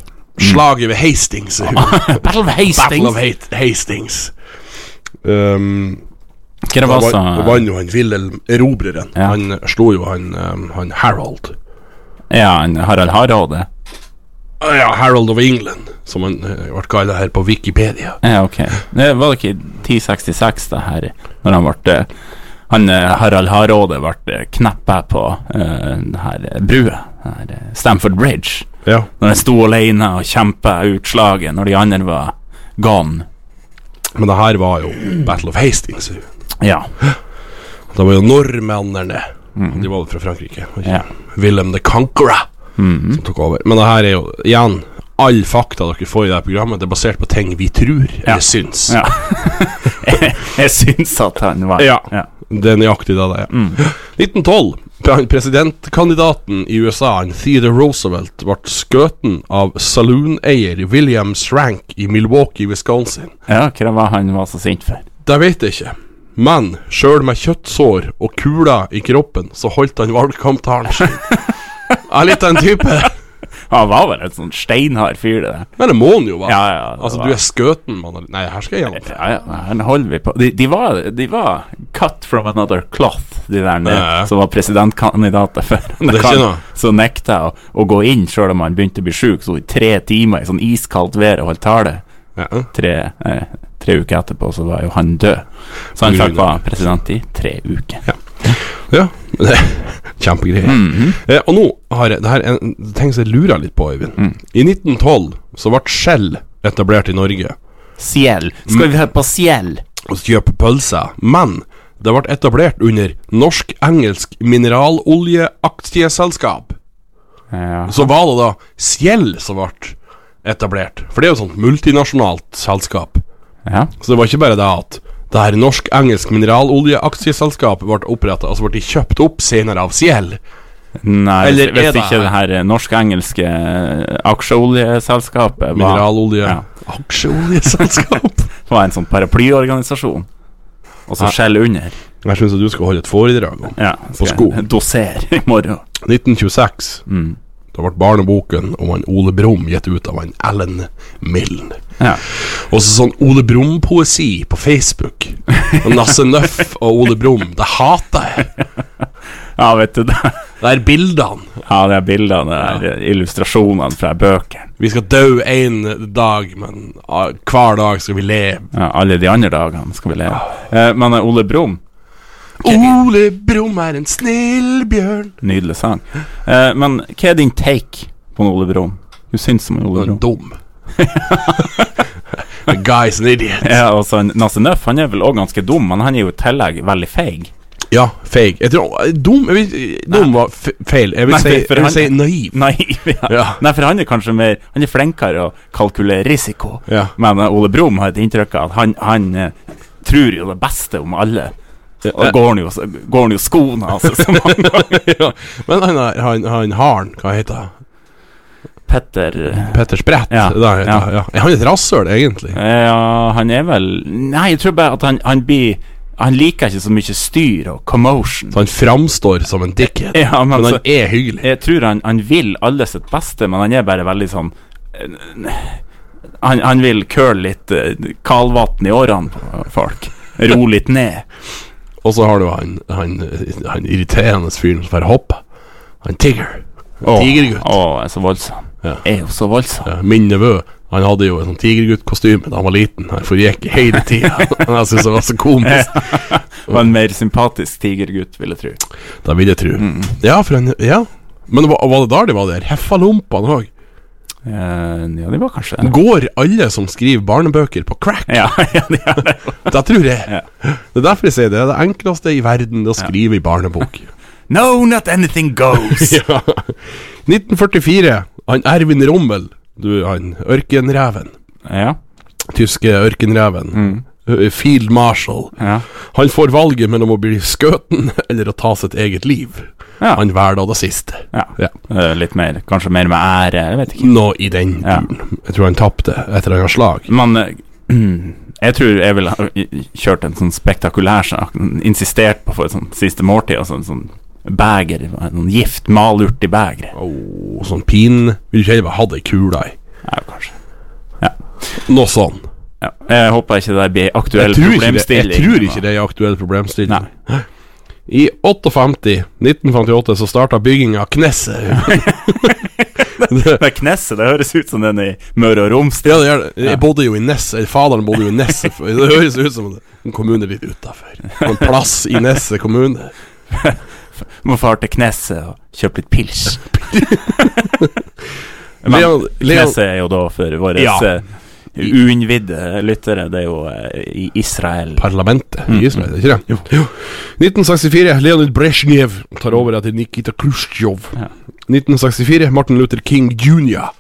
C: Slaget ved Hastings <laughs>
A: Battle of
C: Battle of Hat- Hastings um,
A: Hva det
C: Da
A: var
C: vann da
A: så
C: vann jo han Wilhelm Erobreren
A: Ja.
C: Han eh, slo jo han, um, han Harold
A: Ja, en Harald Hardråde?
C: Ah, Ja, Harold of England Som han eh, ble kallet her på Wikipedia
A: Ja, ok. Det var det ikke 1066, det her, når han ble han, eh, Harald Hardråde ble kneppa på eh, den her eh, brua, den her eh, Stamford Bridge.
C: Ja
A: Når han sto alene og kjempa ut slaget når de andre var gone.
C: Men det her var jo Battle of Hastings Det
A: Ja.
C: var jo normennerne De var jo fra Frankrike var ikke?
A: Mhm. Ja. Mhm.
C: Wilhelm the Conqueror Som tok over Men det her er jo, igjen All fakta dere får i det her programmet Det er basert på ting vi tror Eller syns
A: <laughs> Ja. jeg, jeg syns at han var
C: Ja.
A: ja.
C: Det er nøyaktig det det er.
A: Mm.
C: 1912. pre- Presidentkandidaten i USA, han Theodore Roosevelt, ble skutt av salooneier William Shrank i Milwaukee, Wisconsin.
A: Ja, hva var han var så sint for?
C: Det vet jeg ikke. Men sjøl med kjøttsår og kuler i kroppen, så holdt han valgkamptalen sin. Jeg er litt av en type.
A: Han var vel en sånn steinhard fyr, det der.
C: Nei, det må han jo være.
A: Ja, ja, det
C: altså,
A: var-
C: du er skøten, mann. Nei, her skal jeg gjennom.
A: Ja, ja, her holder vi på. De, de, var, de var cut from another cloth, de der nede,
C: Ja, ja.
A: som var presidentkandidater før. han
C: Det er
A: kan-
C: ikke noe.
A: Så nekta jeg å, å gå inn, sjøl om han begynte å bli sjuk. Så i tre timer i sånn iskaldt vær og holdt tale.
C: Ja.
A: Tre, eh, tre uker etterpå så var jo han død. Så han fikk
C: På grunn av-
A: være president i tre uker.
C: Ja, <laughs> det er kjempegreier.
A: Mhm.
C: eh, og nå har jeg Det her er en ting som jeg lurer litt på, Øyvind.
A: Mm.
C: I 1912 så ble Shell etablert i Norge.
A: Siel. Skal vi høre på Siel?
C: Og kjøpe pølser. Men det ble etablert under Norsk-engelsk mineraloljeaktieselskap.
A: Ja.
C: Så var det da Ciel som ble etablert. For det er jo et sånt multinasjonalt selskap.
A: ja.
C: Så det var ikke bare det at det her norsk-engelsk mineraloljeaktieselskap ble oppretta, altså ble de kjøpt opp senere av Ciel.
A: Nei, hvis,
C: Eller er
A: hvis
C: det-
A: ikke det her eh, norsk-engelske eh, aksjeoljeselskapet var
C: Mineralolje
A: Ja.
C: Aksjeoljeselskap.
A: var en sånn paraplyorganisasjon. Og så skjell under.
C: <laughs> Jeg syns du skal holde et foredrag om
A: Ja, skal jeg
C: sko.
A: Doser i morgen. Mm.
C: 1926. Da ble barneboken om han Ole Brumm gitt ut av han Alan Milne.
A: Ja.
C: Og så sånn Ole Brumm-poesi på Facebook. Og Nasse Nøff og Ole Brumm. Det hater jeg.
A: ja, vet du det.
C: Det er bildene.
A: Ja, de bildene, de illustrasjonene fra bøkene.
C: Vi skal dø en dag, men ah, hver dag skal vi leve.
A: Ja, alle de andre dagene skal vi leve. Eh, men eh, Ole Brumm,
C: Ole Brumm er en snill bjørn.
A: nydelig sang. Eh, men hva er din take på en Ole Brumm? Hva syns du om en
C: Du
A: Ole
C: er
A: Brumm?
C: dum. The guy's an idiot.
A: Ja, og så en Nasse Nøff, han er vel òg ganske dum, men han er jo i tillegg veldig feig.
C: Ja, feig. Jeg tror eh, Dum, jeg vil, dum var f feil. Jeg vil,
A: Nei,
C: si,
A: for
C: jeg vil
A: han-
C: si naiv.
A: <laughs> Nei, ja.
C: Ja.
A: Nei, for han er kanskje mer Han er flinkere å kalkulere risiko.
C: Ja.
A: Men eh, Ole Brumm har et inntrykk av at han, han eh, tror jo det beste om alle. Og da går han jo, går han jo skoene altså, av seg så
C: <laughs>
A: mange ganger.
C: <laughs> ja. Men han, er- han, han haren, hva heter han?
A: Petter eh,
C: Petter Sprett?
A: Ja,
C: det han heter,
A: ja.
C: ja. Er Han er et rasshøl, egentlig.
A: eh, Ja, han er vel Nei, jeg tror bare at han, han blir Han liker ikke så mye styr og commotion.
C: Så han framstår som en dickhead,
A: Ja, men
C: men han
A: så-
C: er hyggelig.
A: Jeg tror han, han vil alle sitt beste, men han er bare veldig sånn eh, Han, han vil køle litt eh, kalvatn i årene på folk. Ro litt ned.
C: Og så har du han, han, han irriterende fyren som bare hopper. Han Tigger.
A: Åh,
C: Tigergutt.
A: åh, er så voldsom.
C: Ja.
A: Er jo så voldsom.
C: Ja, Min nevø han hadde jo en sånn tigerguttkostyme da han var liten. Han forgikk hele <laughs> tida. jeg syns det var så komisk.
A: Og en mer sympatisk tigergutt, vil jeg tro.
C: Da vil jeg tro.
A: Mm,
C: Ja, for han Ja. Men var, var det da de var der? Heffalompene òg?
A: Eh, ja, de var kanskje det.
C: Går alle som skriver barnebøker, på crack?
A: Ja, <laughs> ja, de er det.
C: Det tror jeg. Det er derfor jeg sier det. Det er det enkleste i verden å skrive i
A: <laughs>
C: barnebok.
A: No, not anything goes.
C: <laughs> Ja. 1944. Han Ervin Rommel, du, han ørkenreven.
A: ja,
C: Tyske ørkenreven. Ø- Field Marshal.
A: Mm. ja.
C: Han får valget mellom å bli skutt <laughs> eller å ta sitt eget liv.
A: Ja.
C: Han velger da det siste.
A: ja. Eh, litt mer, kanskje mer med ære, jeg vet ikke.
C: Nå i den
A: Ja.
C: duren. Jeg tror han tapte et eller annet slag.
A: Men eh, <clears throat> jeg tror jeg ville ha kjørt en sånn spektakulær sak, insistert på for et sånt siste måltid, altså en sånn beger, en sånn gift malurt i begeret.
C: Og sånn pin Vil ikke heller hatt ei kule i.
A: Ja, kanskje.
C: Noe sånn.
A: Ja. Jeg håper ikke det blir aktuell
C: Jeg tror, ikke det,
A: problemstilling.
C: jeg tror ikke det er en aktuell problemstilling.
A: Nei.
C: I 58, 1958 så starta bygginga av Knesset.
A: <laughs> <laughs>
C: <laughs>
A: Det er Knesset, det høres ut som den i Møre og Romsdal.
C: Ja, det gjør det. Jeg bodde jo i Nesset. Faderen bodde jo i <laughs> Nesset. for- Det høres ut som en kommune litt utafor. En plass i Nesset kommune.
A: Må fare til Knesset og kjøpe litt pils.
C: <laughs>
A: <laughs> Men
C: Leon, Leon,
A: Knesset er jo da for våre
C: Ja.
A: eh, uinnvidde lyttere, det er jo eh, i Israel.
C: parlamentet i Israel, ikke det? Mm. Jo. 1964. Leonid Brezjnev tar over etter Nikita Khrusjtsjov. 1964. Martin Luther King jr.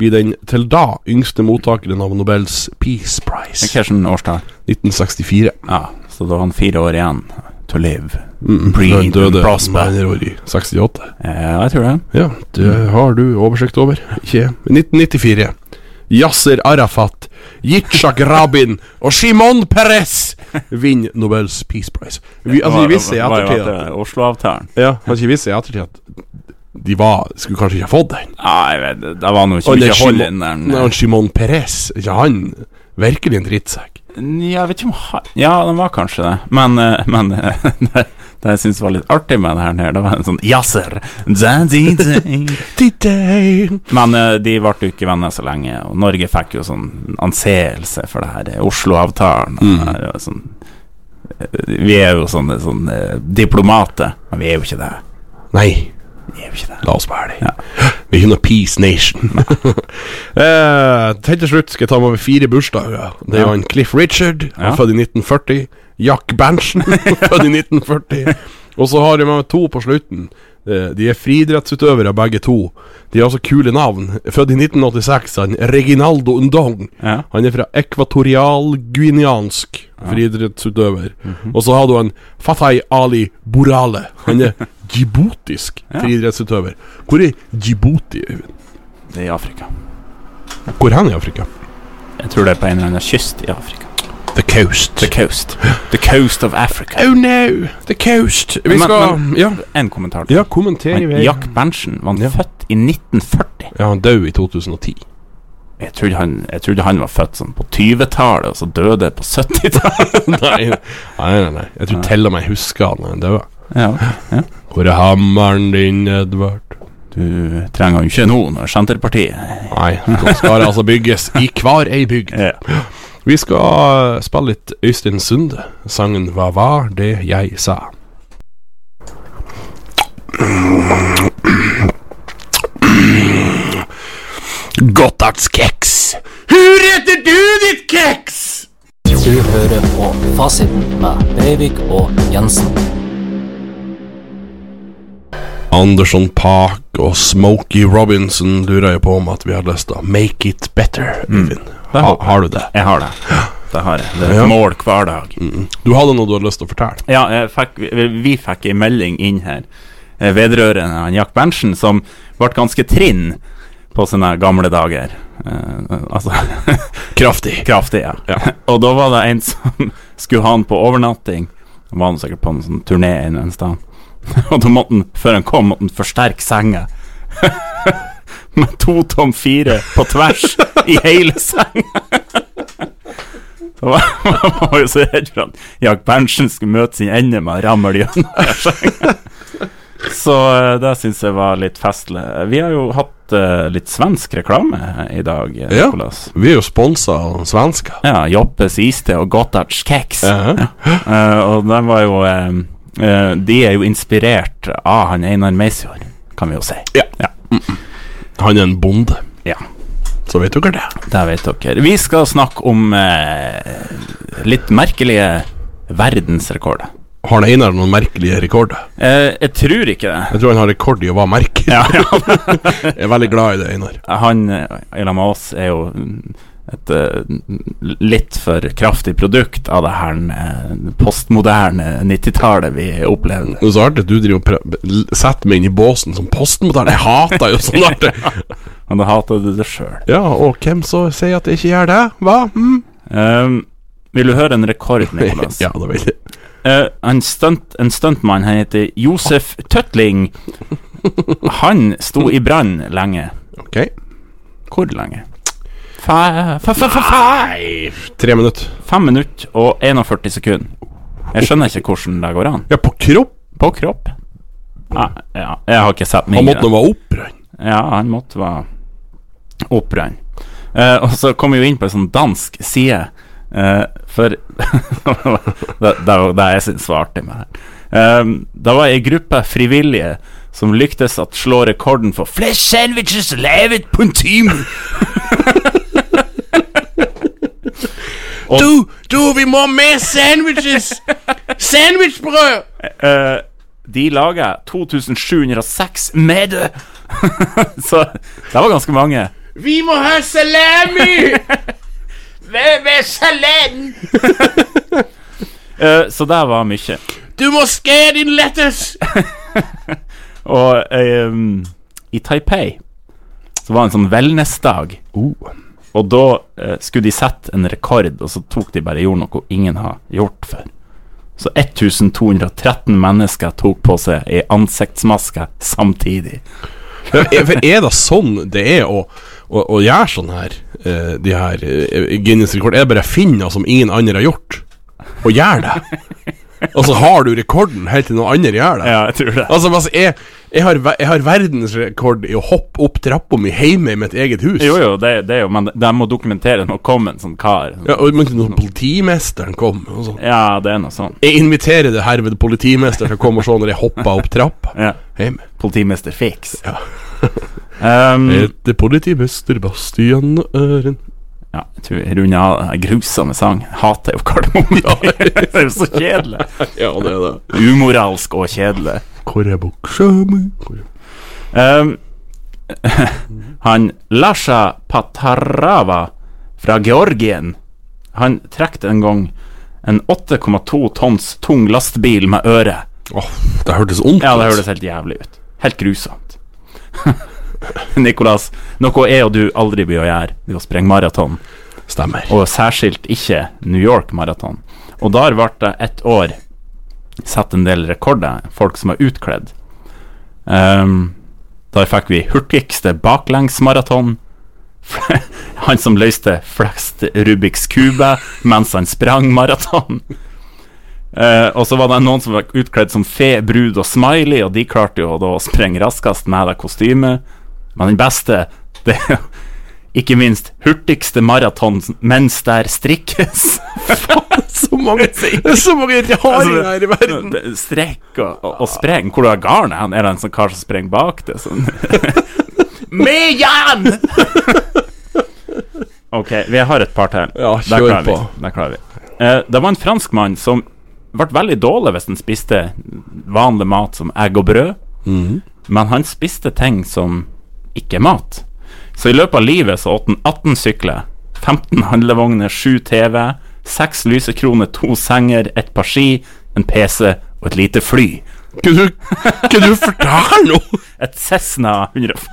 C: blir den til da yngste mottakeren av Nobels Peace Prize.
A: Hvilken årstall?
C: 1964.
A: Ja, så da har han fire år igjen to live.
C: Den
A: Breathe
C: Mm, døde
A: and prosper.
C: Mannerud i 68.
A: Ja, jeg tror det.
C: Ja, det har du oversikt over. Ikke jeg. 1994. Yasser Arafat, Yitzhak Rabin og Shimon Peres vinner Nobels Peace Prize. Vi, altså, de visste i
A: Det var jo
C: ettertid
A: at det
C: at
A: er Oslo-avtalen.
C: Ja, altså, de visste i ettertid at de var, skulle kanskje ikke ha fått den.
A: Nei, jeg vet, det var nå ikke
C: Og det
A: mye
C: er
A: hold i
C: Shimon-
A: den eh, der.
C: Nei, han Shimon Perez, ikke han virkelig en drittsekk?
A: Ja, jeg vet ikke om han Ja, den var kanskje det, men, eh, men eh, <laughs> det, det jeg syns var litt artig med det her, nede, det var en sånn Yasser Men eh, de ble jo ikke venner så lenge, og Norge fikk jo sånn anseelse for det her eh, Oslo-avtalen. og
C: Mm.
A: det her, og Sånn, eh, vi er jo sånne, sånne eh, diplomater, men vi er jo ikke det.
C: Nei,
A: Vi er jo ikke det.
C: la oss være det.
A: Ja.
C: Vi er ikke noe peace nation. <laughs> eh, helt til slutt skal jeg ta med over fire bursdager. Det er
A: Ja.
C: jo han Cliff Richard, han
A: Ja.
C: er født i 1940. Jack Berntsen, <laughs> født i 1940. Og så har jeg med meg to på slutten. Eh, De er friidrettsutøvere, begge to. De har altså kule navn. Født i 1986, han Reginaldo Undong.
A: Ja.
C: Han er fra ekvatorial-guineansk friidrettsutøver. Og så har du han Fatay Ali Borale. Han er djiboutisk friidrettsutøver. Hvor er Djibouti? Øyvind?
A: Det er i Afrika.
C: Hvor hen i Afrika?
A: Jeg tror det er på en eller annen kyst i Afrika.
C: The coast.
A: The coast. The coast of Africa.
C: Oh no, the coast. Vi
A: Men-
C: skal
A: men-
C: Ja,
A: En kommentar til.
C: ja kommenter i
A: Men
C: vei.
A: Jack Berntsen var
C: Ja.
A: født i 1940.
C: Ja, han døde i 2010.
A: Jeg trodde han, jeg trodde han var født sånn på 20-tallet, og så døde på 70-tallet.
C: <laughs> nei, nei, nei, nei. Jeg tror til og med jeg husker han da han døde.
A: ja, ja.
C: Hvor er hammeren din, Edvard?
A: Du trenger jo ikke nå når Senterpartiet
C: Nei, nå skal det altså bygges i hver ei bygd.
A: Ja.
C: Vi skal eh, spille litt Øystein Sunde. Sangen 'Hva var det jeg sa'. Godtards keks. Hvor heter du ditt keks?
D: Du hører på Fasiten med Breivik og Jensen.
C: Anderson Park og Smokey Robinson lurer jeg på om at vi har lyst til å make it better. Øyvind. Ha,
A: håper
C: Mm. har du det?
A: Jeg har det. Det har jeg. Det er et
C: Ja.
A: mål hver dag.
C: Du hadde noe du hadde lyst til å fortelle?
A: Ja, jeg fikk, vi vi fikk ei melding inn her eh, vedrørende han Jack Berntsen, som ble ganske trinn på sine gamle dager. Eh, altså <laughs>
C: Kraftig.
A: Kraftig, ja. <laughs> og da var det en som <laughs> skulle ha han på overnatting. Han var han sikkert på en sånn turné en eller annen sted. <laughs> Og da måtte han, før han kom, måtte han forsterke senga. <laughs> Med to tom fire på tvers i hele senga. <laughs> Så var- <laughs> Man var jo så redd for at Jack Berntsen skulle møte sin ende med å ramle gjennom her senga. <laughs> Så eh, det syns jeg var litt festlig. Vi har jo hatt eh, litt svensk reklame i dag. eh,
C: Ja.
A: Nicolas.
C: Vi er jo sponsa av svensker.
A: Ja, Joppes iste og Gottards keks.
C: Ja.
A: Eh, og den var jo eh, eh, De er jo inspirert av han Einar Meisjord, kan vi jo si.
C: Ja. Han er en bonde,
A: Ja,
C: så vet dere det.
A: det vet dere. Vi skal snakke om eh, litt merkelige verdensrekorder.
C: Har han Einar noen merkelige rekorder?
A: Eh, jeg tror ikke det.
C: Jeg tror han har rekord i å være merkelig.
A: Ja, ja.
C: <laughs> Jeg er veldig glad i det, Einar.
A: Han eh, i lag med oss er jo mm, et eh, l- litt for kraftig produkt av det her eh, postmoderne 90-tallet vi opplevde.
C: Det er så artig at du driver og pre- l- setter meg inn i båsen som postmoderne. Jeg hater jo sånn artig.
A: <laughs> Men da hater du det sjøl.
C: Ja, og hvem så sier at jeg ikke gjør det? Hva? Mm.
A: Ehm, vil du høre en
C: <laughs>
A: rekord, Nikolas?
C: Ja, det vet jeg.
A: Eh, en, stunt, en stuntmann, han heter Josef Tøtling. Han sto i brann lenge.
C: Ok.
A: Hvor lenge? Fa, fa, fa, fa, fa.
C: Tre minutter.
A: 5 minutter og 41 sekunder. Jeg skjønner ikke hvordan det går an.
C: Ja, på kropp.
A: På kropp? Ja, ja, jeg har ikke sett mye.
C: Han måtte nå være opprørt.
A: Ja, han måtte være opprørt. Eh, og så kom vi jo inn på en sånn dansk side, eh, for <laughs> det, det var det jeg syns var artig med det her. Ehm, det var ei gruppe frivillige som lyktes at slå rekorden for flest sandwiches laget på en time.
C: Du, du, vi må ha mer sandwiches!
A: <laughs>
C: Sandwichbrød!
A: Eh, de laga 2706 med det. <laughs> så det var ganske mange.
C: Vi må ha
A: <laughs>
C: salami!
A: Eh, så det var mye.
C: Du må skære din lettuce!
A: <laughs> Og ehm, i Taipei så var det en sånn wellness-dag.
C: Oh.
A: Og da eh, skulle de sette en rekord, og så tok de bare og gjorde noe ingen har gjort før. Så 1213 mennesker tok på seg ei ansiktsmaske samtidig.
C: Ja, er- For er det sånn det er å, å, å gjøre sånn her, eh, de her eh, Guinness rekord? Er det bare finner som ingen andre har gjort, og
A: <laughs>
C: gjør det? Og så har du rekorden helt til noen andre gjør det?
A: Ja, jeg tror det.
C: Altså, men altså jeg, jeg, har, ver- jeg har verdensrekord i å hoppe opp trappa mi hjemme i mitt eget hus.
A: Jo, jo, det, det er jo Men de må dokumentere når kom en sånn kar.
C: Ja, og men når politimesteren kom og sånn
A: Ja, det er noe sånn.
C: Jeg inviterer det herved politimesteren til å komme og se når jeg hopper opp trappa
A: Ja.
C: hjemme.
A: Politimester Fix.
C: Ja.
A: <laughs> Ehm,
C: Heter politimester Bastian Øren
A: ja, jeg tror jeg runder av den grusomme sang. Hater jo Kardemomme. <laughs> det er jo så kjedelig.
C: Ja, det er det.
A: Umoralsk og kjedelig.
C: Hvor er buksa mi? Hvor er-
A: Ehm, <laughs> han Lasha Patarava fra Georgien Han trekte en gang en 8,2 tonns tung lastebil med øre.
C: Åh, det hørtes ondt
A: Ja, det høres helt jævlig ut. Helt grusomt. <laughs> Nikolas, noe jeg og du aldri blir å gjøre, det er å sprenge maraton,
C: Stemmer.
A: og særskilt ikke New York-maraton. Og der ble det ett år satt en del rekorder, folk som var utkledd. Ehm, der fikk vi hurtigste baklengsmaraton. <laughs> Han som løste flest Rubiks kube mens han sprang maraton. Eh, og så var det noen som var utkledd som fe, brud og smiley, og de klarte jo da å sprenge raskest med det kostymet. Men den beste, <laughs> det er jo ikke minst hurtigste maraton mens der strikkes.
C: <laughs>
A: Altså,
C: Så mange, <laughs> Altså, det er så mange raringer her i <laughs> verden.
A: Det- Strekk og, og, og spreng. Hvor er garnet hen? Er det en sånn kar som sprenger bak det? Sånn. Med jern! <laughs> ok, vi har et par til.
C: Ja,
A: Det
C: kjør
A: klarer vi.
C: på.
A: Det klarer vi. Eh, det var en franskmann som ble veldig dårlig hvis han spiste vanlig mat som egg og brød,
C: Mhm.
A: men han spiste ting som ikke er mat. Så i løpet av livet så åt han 18 sykler, 15 handlevogner, 7 TV, 6 lysekroner, 2 senger, et par ski, en PC og et lite fly.
C: Kan du, kan du fortelle noe? <laughs>
A: Et Cessna 150.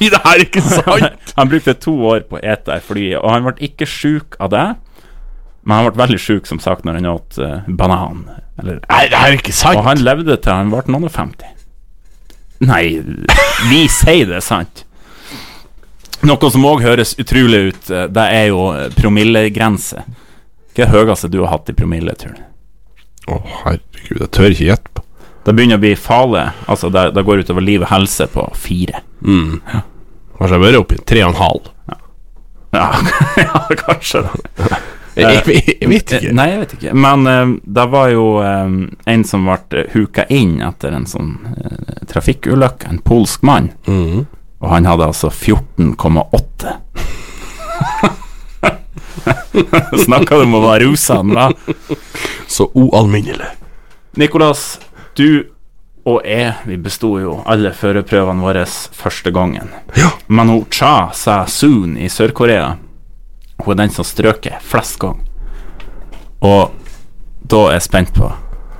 C: Nei, det her er ikke sant.
A: Han brukte to år på å ete det flyet, og han ble ikke sjuk av det. Men han ble veldig sjuk, som sagt, når han åt eh, banan. Eller,
C: Nei, det her er ikke sant.
A: og han levde til han ble noen og femti. Nei, vi sier det er sant. Noe som òg høres utrolig ut, eh, det er jo eh, promillegrense. Hva er det høyeste du har hatt i promille, tror du?
C: Å, herregud, jeg tør ikke gjette på.
A: Det begynner å bli farlig. Altså, det, det går utover liv og helse på fire.
C: Kanskje jeg bare oppi tre og en halv.
A: Ja, <laughs> ja kanskje det.
C: Jeg, jeg, jeg vet
A: Eh,
C: ikke.
A: Nei, jeg vet ikke. Men eh, det var jo eh, en som eh, ble huka inn etter en sånn eh, trafikkulykke, en polsk mann.
C: Mhm.
A: Og han hadde altså <laughs> 14,8. Snakka du om å være rusa nå?
C: Så ualminnelig.
A: Nikolas, du og jeg, vi besto jo alle førerprøvene våre første gangen.
C: Ja.
A: Men hun Cha Sa Soon i Sør-Korea, hun er den som strøker flest gang. Og da er jeg spent på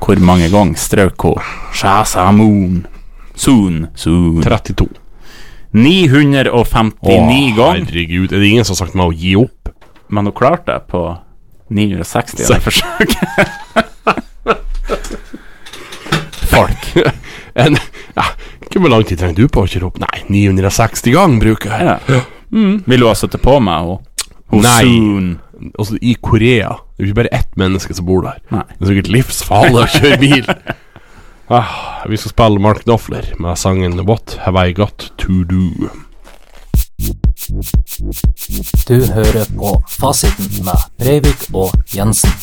A: hvor mange ganger strøk hun Cha Sa Moon Soon Soon
C: 32.
A: 959 ganger.
C: herregud. Er det ingen som har sagt meg å gi opp?
A: Men hun klarte det på 960 av det forsøket. Folk.
C: En, ja, ikke hvor lang tid trenger du på å kjøre opp? Nei, 960 ganger bruker jeg.
A: Ja. Mm. Vil du ha sittet på meg og og
C: Nei.
A: Soon?
C: Altså, i Korea Det er jo ikke bare ett menneske som bor der.
A: Nei.
C: Det er sikkert livsfarlig å kjøre bil. Ah, vi skal spille Mark Knopfler med sangen What Have I Got To Do.
D: Du hører på Fasiten med Breivik og Jensen.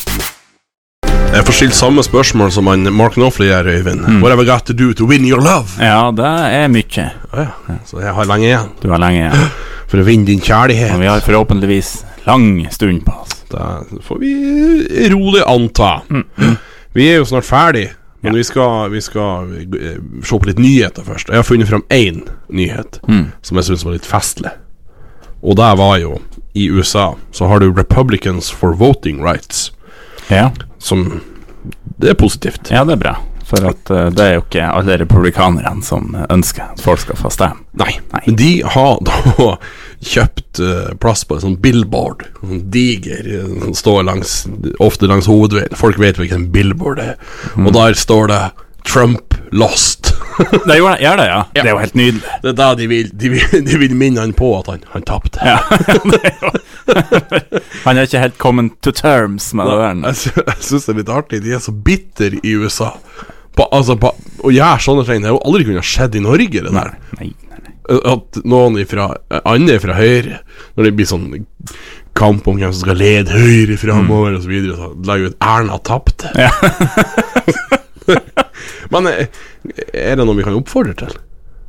C: Jeg får stilt samme spørsmål som han Mark Knopfler gjør, Øyvind. What have I got to do to win your love?
A: Ja, det er mye.
C: Ah, ja. Så jeg har lenge igjen
A: Du har lenge igjen.
C: for å vinne din kjærlighet.
A: Og vi har forhåpentligvis lang stund på oss.
C: Da eh, får vi rolig anta. Vi er jo snart ferdig, men vi skal, vi skal eh, se på litt nyheter først. Jeg har funnet fram én nyhet som jeg syns var litt festlig. Og det var jo I USA så har du Republicans for Voting Rights,
A: Ja.
C: som Det er positivt.
A: ja, det er bra. For at eh, det er jo ikke alle republikanerne som ønsker at folk skal få stemme.
C: Nei. Men de har <laughs> da kjøpt eh, plass på en sånn billboard. En diger eh, som står langs, ofte langs hovedveien. Folk vet hvilken billboard det er. Og der står det 'Trump lost'. <laughs>
A: Det gjorde jeg, gjør det, ja. Det er jo helt nydelig.
C: det er da de vil, de vil, <laughs> de vil minne han på at han, han tapte.
A: Ja. Det er jo- Han er ikke helt coming to terms med det der.
C: <laughs> Jeg, sy jeg syns det er litt artig. De er så bitter i USA. På, altså, på, å gjøre sånne ting Det har jo aldri kunnet skjedd i Norge, det der.
A: Nei, nei, nei.
C: At noen ifra, andre fra Høyre Når det blir sånn kamp om hvem som skal lede Høyre framover og osv., så, videre, så legger vi ut 'Erna tapte'.
A: Ja.
C: <laughs> Men eh, er det noe vi kan oppfordre til?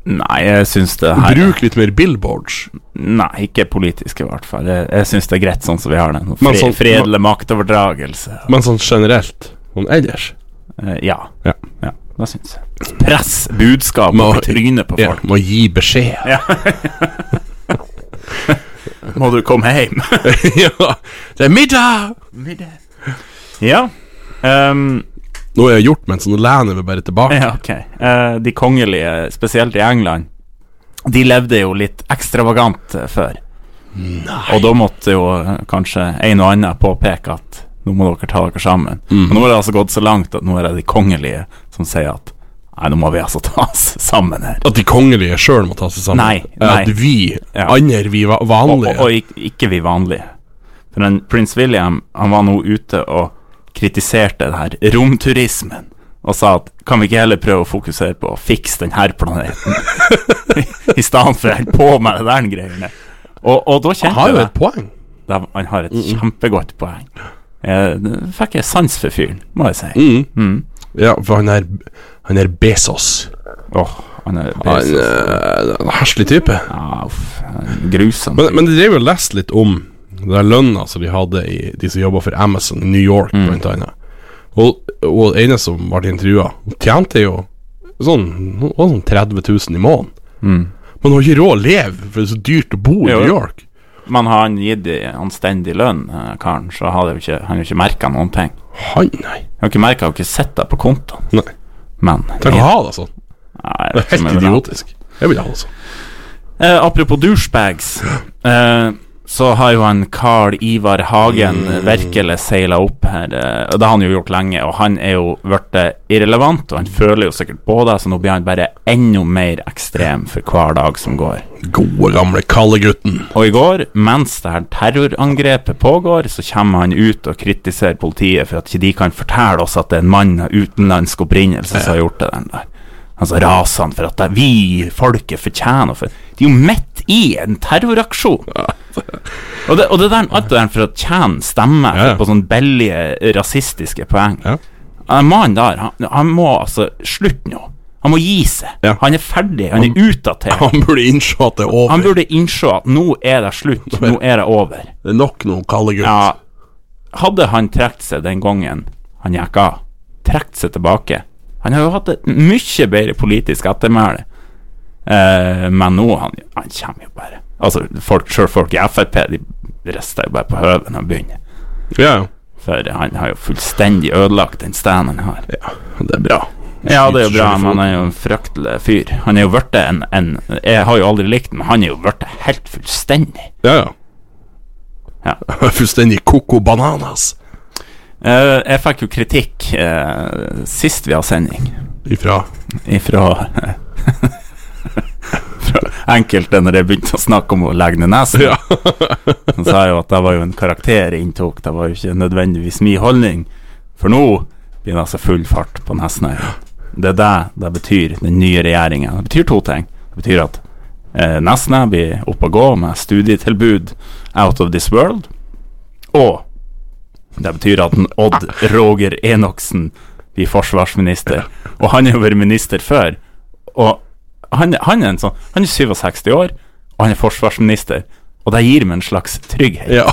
A: Nei, jeg syns det her
C: Bruk litt mer billboards.
A: Nei, ikke politisk i hvert fall. Jeg, jeg syns det er greit sånn som vi har det. nå.
C: Men
A: Fre-
C: sånn-
A: Fredelig maktoverdragelse.
C: Men sånn generelt, sånn ellers
A: Eh, Ja.
C: Ja.
A: ja det syns jeg. Press budskap
C: Må-
A: opp i trynet på
C: ja,
A: folk.
C: Må gi beskjed. <laughs>
A: Må du komme hjem?
C: ja. Det er middag!
A: <laughs> ja. Ehm,
C: Nå er jeg gjort, men så nå lener jeg meg bare tilbake.
A: Ja, ok. Eh, de kongelige, spesielt i England, de levde jo litt ekstravagant eh, før. Og da måtte jo eh, kanskje en og annen påpeke at nå må dere ta dere sammen. Men nå har det altså gått så langt at nå er det de kongelige som sier at nei, nå må vi altså ta oss <laughs> sammen her.
C: At de kongelige sjøl må ta seg sammen.
A: Nei,
C: Eh, At
A: nei.
C: vi,
A: Ja.
C: andre vi va-
A: Og,
C: vanlige
A: og, og ik- ikke vi vanlige. For den, prins William han var nå ute og kritiserte det her romturismen. Og sa at kan vi ikke heller prøve å fokusere på å fikse den her planeten? <laughs> I- I stedet for å holde på med det der greiene. Og, og da kjente
C: Har
A: jeg
C: jo
A: det.
C: et poeng.
A: Da- Han har et kjempegodt poeng. Eh, det fikk jeg sans for fyren, må jeg si. Mm.
C: Ja, for han er, han er Bezos.
A: Åh, Mm. han er
C: Han
A: Bezos.
C: eh, en herselig type.
A: Ja, uff, han er grusom.
C: Men, men de drev jo og leste litt om den der lønna som de hadde, i, de som jobba for Amazon i New York,
A: Mm.
C: blant annet. Og, og ene som ble intervjua, hun tjente jo sånn, hun var sånn 30 000 i måneden.
A: Mm.
C: Men hun har ikke råd å leve, for det er så dyrt å bo i
A: Jo.
C: New York.
A: Men har han gitt de anstendig lønn, eh, karen, så har det jo ikke, han har jo ikke merka noen ting.
C: Han, nei.
A: Jeg har ikke merket, jeg har ikke sett det på kontoen,
C: nei.
A: men
C: Tenk å ha det sånn.
A: Nei, jeg
C: Det
A: vet
C: er
A: ikke om jeg
C: helt
A: vil ha
C: idiotisk. Jeg vil ha det sånn.
A: det. Eh, apropos douchebags, eh, så har jo han Carl Ivar Hagen virkelig seila opp her. Eh, og det har han jo gjort lenge, og han er jo blitt eh, irrelevant, og han føler jo sikkert på det, så nå blir han bare enda mer ekstrem for hver dag som går.
C: Gode, gamle kallegutten.
A: Og i går, mens det her terrorangrepet pågår, så kommer han ut og kritiserer politiet for at ikke de kan fortelle oss at det er en mann av utenlandsk opprinnelse som har gjort det den der. Altså raser han for at det er vi, folket, fortjener for De er jo midt i en terroraksjon! Og det, og det der, alt det der for å tjene stemme
C: Ja, ja.
A: på sånne billige rasistiske poeng.
C: Ja.
A: Den mannen der, han, han må altså Slutt nå. Han må gi seg.
C: Ja.
A: Han er ferdig. Han er utdatert.
C: Han burde innse at det er over.
A: Han burde innse at nå er det slutt, nå <laughs> er det over.
C: Det er nok nå, kallegutt.
A: Ja, hadde han trukket seg den gangen han gikk av, trukket seg tilbake Han har jo hatt et mye bedre politisk ettermæle, eh, men nå han, han kommer jo bare Altså, folk, selv folk i Frp de rister jo bare på høven og begynner.
C: ja.
A: For han har jo fullstendig ødelagt den steinen han har.
C: ja. Det er bra.
A: Ja, det er jo bra,
C: Skyter
A: men
C: selv i foten.
A: han er jo en fryktelig fyr. Han er jo blitt en, en Jeg har jo aldri likt ham, men han er jo blitt helt fullstendig.
C: Ja, ja.
A: Ja.
C: <laughs> Fullstendig koko bananas
A: Eh, jeg fikk jo kritikk eh, sist vi har sending
C: ifra
A: ifra <laughs> fra enkelte når jeg begynte å snakke om å legge ned nesen.
C: Ja.
A: Han sa jo at det var jo en karakter jeg inntok, det var jo ikke nødvendigvis min holdning. For nå blir det altså full fart på Nesnøya. Det er det det betyr, den nye regjeringen. Det betyr to ting. Det betyr at eh, Nesna blir oppe og gå med studietilbud out of this world. Og det betyr at en Odd Roger Enoksen blir forsvarsminister. Og han har jo vært minister før. Og han, han er en sånn Han er 67 år, og han er forsvarsminister. Og det gir meg en slags trygghet.
C: <laughs> Ja.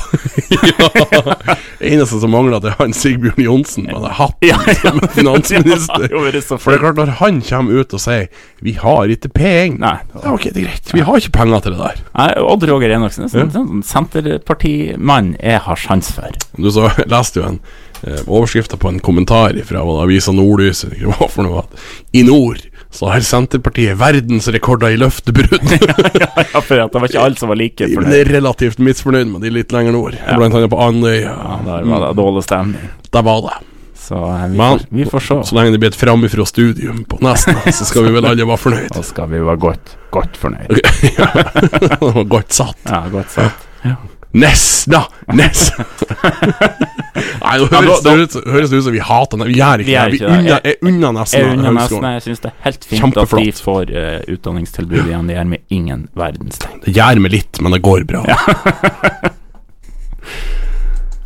C: ja. Eneste som mangler, det er han Sigbjørn Johnsen med den hatten
A: <laughs> Ja, ja.
C: som er <laughs>
A: <laughs>
C: finansminister.
A: Det har jo vært så
C: For det er klart, når han kommer ut og sier 'Vi har ikke penger'
A: Nei.
C: Ja, ok, det er greit. Vi har ikke penger til det der.
A: Nei, Odd Roger Enoksen er sånn, sånn senterpartimann jeg har sans for. <laughs>
C: Du så <laughs> leste jo en eh, overskrifta på en kommentar fra avisa Nordlys eller hva det var for noe, at i nord så har Senterpartiet verdensrekorder i løftebrudd.
A: <laughs> Ja, for at det var ikke alle som var like
C: Men
A: fornøyd.
C: er relativt misfornøyd med de litt lenger nord, blant annet på Andøya.
A: Der var det dårlig stemning.
C: Der var det.
A: Så eh, vi,
C: Men-
A: får, vi får se.
C: Så lenge det blir et framifrå studium på
A: <laughs>
C: Nesna, så skal vi vel alle være fornøyd.
A: Da
C: <laughs>
A: skal vi være godt, godt fornøyd.
C: Det var <laughs> godt satt.
A: Ja, godt sagt.
C: Nesna! Nes...
A: <laughs>
C: Nei, nå høres,
A: da-
C: det ut- høres det ut som vi hater Nesna. Vi gjør
A: Vi
C: ikke
A: gjør
C: det.
A: ikke
C: Vi unna,
A: det.
C: er unna Nesna.
A: Jeg unner nesten
C: høgskolen.
A: Jeg syns det er helt fint at de
C: Kjempeflott.
A: får eh, utdanningstilbud igjen. Det gjør meg ingen verdens ting.
C: Det gjør meg litt, men det går bra. <laughs>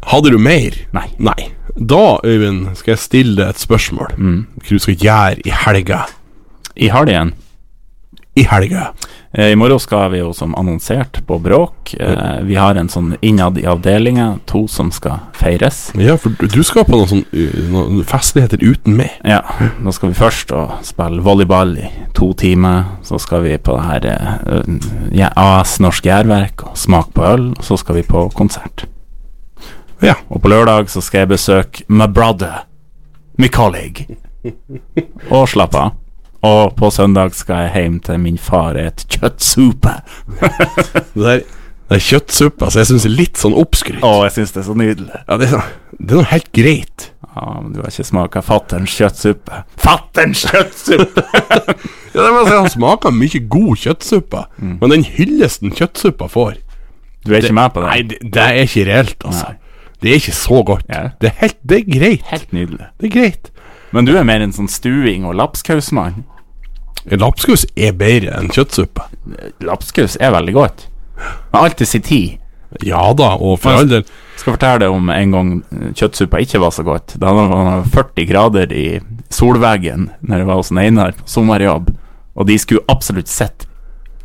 C: Hadde du mer?
A: Nei.
C: Nei. Da, Øyvind, skal jeg stille deg et spørsmål. Hva du skal gjøre i helga?
A: I helgen
C: I helga.
A: Eh, I morgen skal vi jo som annonsert på Bråk. Eh, vi har en sånn innad i avdelinga, to som skal feires.
C: Ja, for du- du skal på noen sånn, uh, noen festligheter uten meg.
A: Ja, da skal vi først og spille volleyball i to timer. Så skal vi på det her eh, ja, AS Norsk Gjærverk og smake på øl. Og så skal vi på konsert.
C: Ja.
A: Og på lørdag så skal jeg besøke my brother, my colleague, og slappe av. Og på søndag skal jeg hjem til min far og et
C: <laughs>
A: kjøttsuppe.
C: Det der det er kjøttsuppa, så jeg syns det er litt sånn oppskrytt.
A: Å, jeg syns det er så nydelig.
C: Ja, det, er, sånn- det er noe helt greit.
A: Ja, men du har ikke smaka fatterns kjøttsuppe. Fatterns <laughs> kjøttsuppe!
C: Ja, det må jeg <laughs> si, Mm. Han smaker mye god kjøttsuppe, men den hyllesten kjøttsuppa får
A: Du er ikke med på det?
C: Nei, det, det er ikke reelt, altså.
A: Nei.
C: Det er ikke så godt.
A: Ja.
C: Det, er helt, det er greit.
A: Helt nydelig.
C: Det er greit.
A: Men du er mer en sånn stuing- og lapskausmann.
C: Lapskaus er bedre enn kjøttsuppe.
A: Lapskaus er veldig godt. Men alt til sin tid.
C: Ja da, og for all del.
A: Skal fortelle deg om en gang eh, kjøttsuppa ikke var så godt. Da var det 40 grader i solveggen når jeg var hos en Einar på sommerjobb, og de skulle absolutt sitte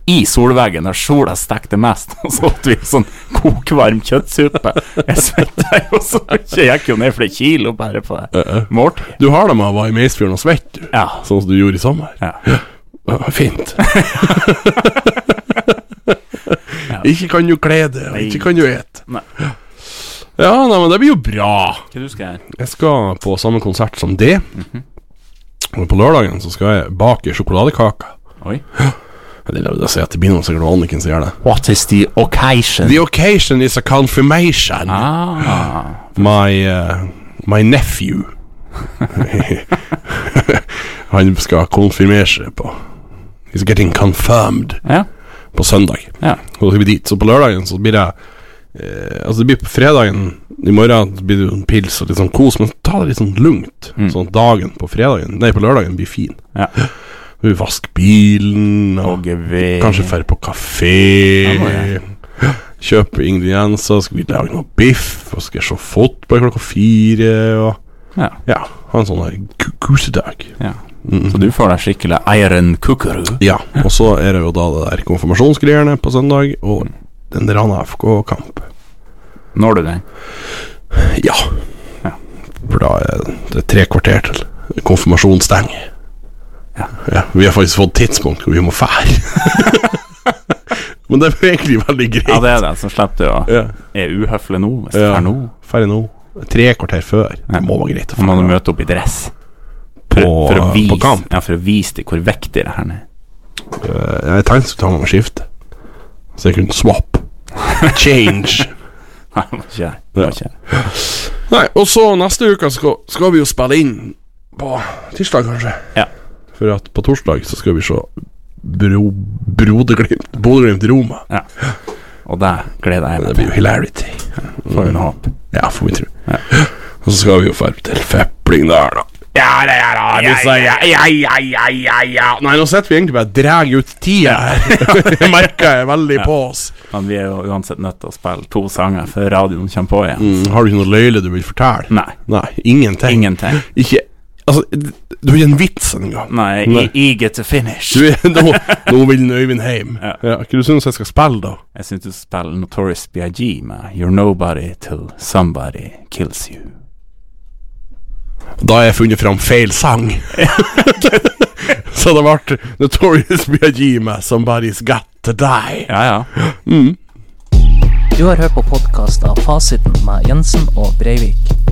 A: i solveggen når sola stekte mest, <laughs> og så åt vi sånn kokvarm kjøttsuppe. Jeg svetta jo så mye, jeg gikk jo ned flere kilo bare på det. Måltid.
C: Du har det med å være i Meisfjorden og svette, du.
A: Ja.
C: Sånn som du gjorde i sommer.
A: Ja.
C: Ja,
A: <laughs>
C: fint. <laughs> Ikke kan du kle deg, og ikke kan du ete.
A: Nei.
C: Ja, nei, men det blir jo bra.
A: Hva du skal gjøre?
C: Jeg skal på samme konsert som det.
A: Mhm.
C: Og på lørdagen så skal jeg bake sjokoladekaker.
A: Oi.
C: Det er lov å si at det blir noe sikkert noe Anniken som gjør det.
A: What is the occasion?
C: The occasion is a confirmation.
A: Ah,
C: My, uh, my nephew. <laughs> Han skal konfirmere seg på He's getting confirmed.
A: ja.
C: på søndag.
A: Ja.
C: Og så skal vi dit. Så på lørdagen så blir det eh, Altså det blir på fredagen i morgen så blir det jo en pils og litt sånn kos, men ta det litt sånn lungt. Sånn at dagen på fredagen Nei, på lørdagen blir fin.
A: Mm. Ja.
C: <gasps> Vi vasker bilen, og
A: Og vi-
C: kanskje dra på kafé. Kjøpe ingredienser, skal vi lage noe biff, og skal jeg se fotball klokka fire. Og
A: Ja.
C: ja ha en sånn der ku- kosedag.
A: ja. Så du får deg skikkelig Eiren Kukuru.
C: Ja, og så er det jo da det der konfirmasjonsgreiene på søndag,
A: Mm.
C: og den der annen FK-kamp.
A: Når du den?
C: Ja.
A: Ja.
C: For da er det tre kvarter til konfirmasjonen stenger.
A: Ja.
C: Vi har faktisk fått tidspunkt hvor vi må
A: <laughs>
C: fære. Men det er jo egentlig veldig greit.
A: Ja, det er det. Så slipper du å
C: Ja.
A: er uhøflig nå, hvis det
C: Ja.
A: er nå.
C: Ferdig nå. Tre kvarter før.
A: Ja.
C: Det må være greit å
A: Så må du
C: fære.
A: møte opp i dress.
C: På,
A: For, for, å vise,
C: på kamp.
A: Ja, for å vise deg hvor viktig det her er. <laughs>
C: Eh, Jeg tenkte jeg skulle ta meg en skifte, så jeg kunne swap. <laughs> Change.
A: Nei, det må ikke jeg. Det må
C: Ja.
A: ikke jeg.
C: Nei, og så neste uke skal, skal vi jo spille inn på tirsdag, kanskje.
A: Ja.
C: For at på torsdag så skal vi se Bro, Brodeglimt Bodø-Glimt-Roma.
A: Og det gleder jeg
C: Det
A: meg
C: blir jo hilarity.
A: til. Får en håp.
C: Ja, får vi tro. Og så skal vi jo dra til Fepling der, da. Ja, det er da, disse, ja, ja, ja, ja, ja, ja. Nei, nå sitter vi egentlig bare og drar ut tida her. <laughs> Det merker jeg veldig på oss.
A: Men vi er jo uansett nødt til å spille to sanger før radioen kommer på igjen.
C: Mm, har du ikke noe løyle du vil fortelle?
A: Nei.
C: Nei, ingenting.
A: Ingenting.
C: Ikke Altså, du har ikke en vits engang.
A: Nei,
C: Nei.
A: I, eager to finish.
C: Du, nå, nå vil den Øyvind hjem. Ja.
A: Ja.
C: hva du syns jeg skal spille, da?
A: Jeg syns du spiller Notorious BIG med You're Nobody Till Somebody Kills You.
C: Da har jeg funnet fram feil sang. <laughs> Så det ble Notorious B.I.G. med Somebody's Got To Die.
A: Ja, ja.
D: Du har hørt på podkast av Fasiten med Jensen og Breivik.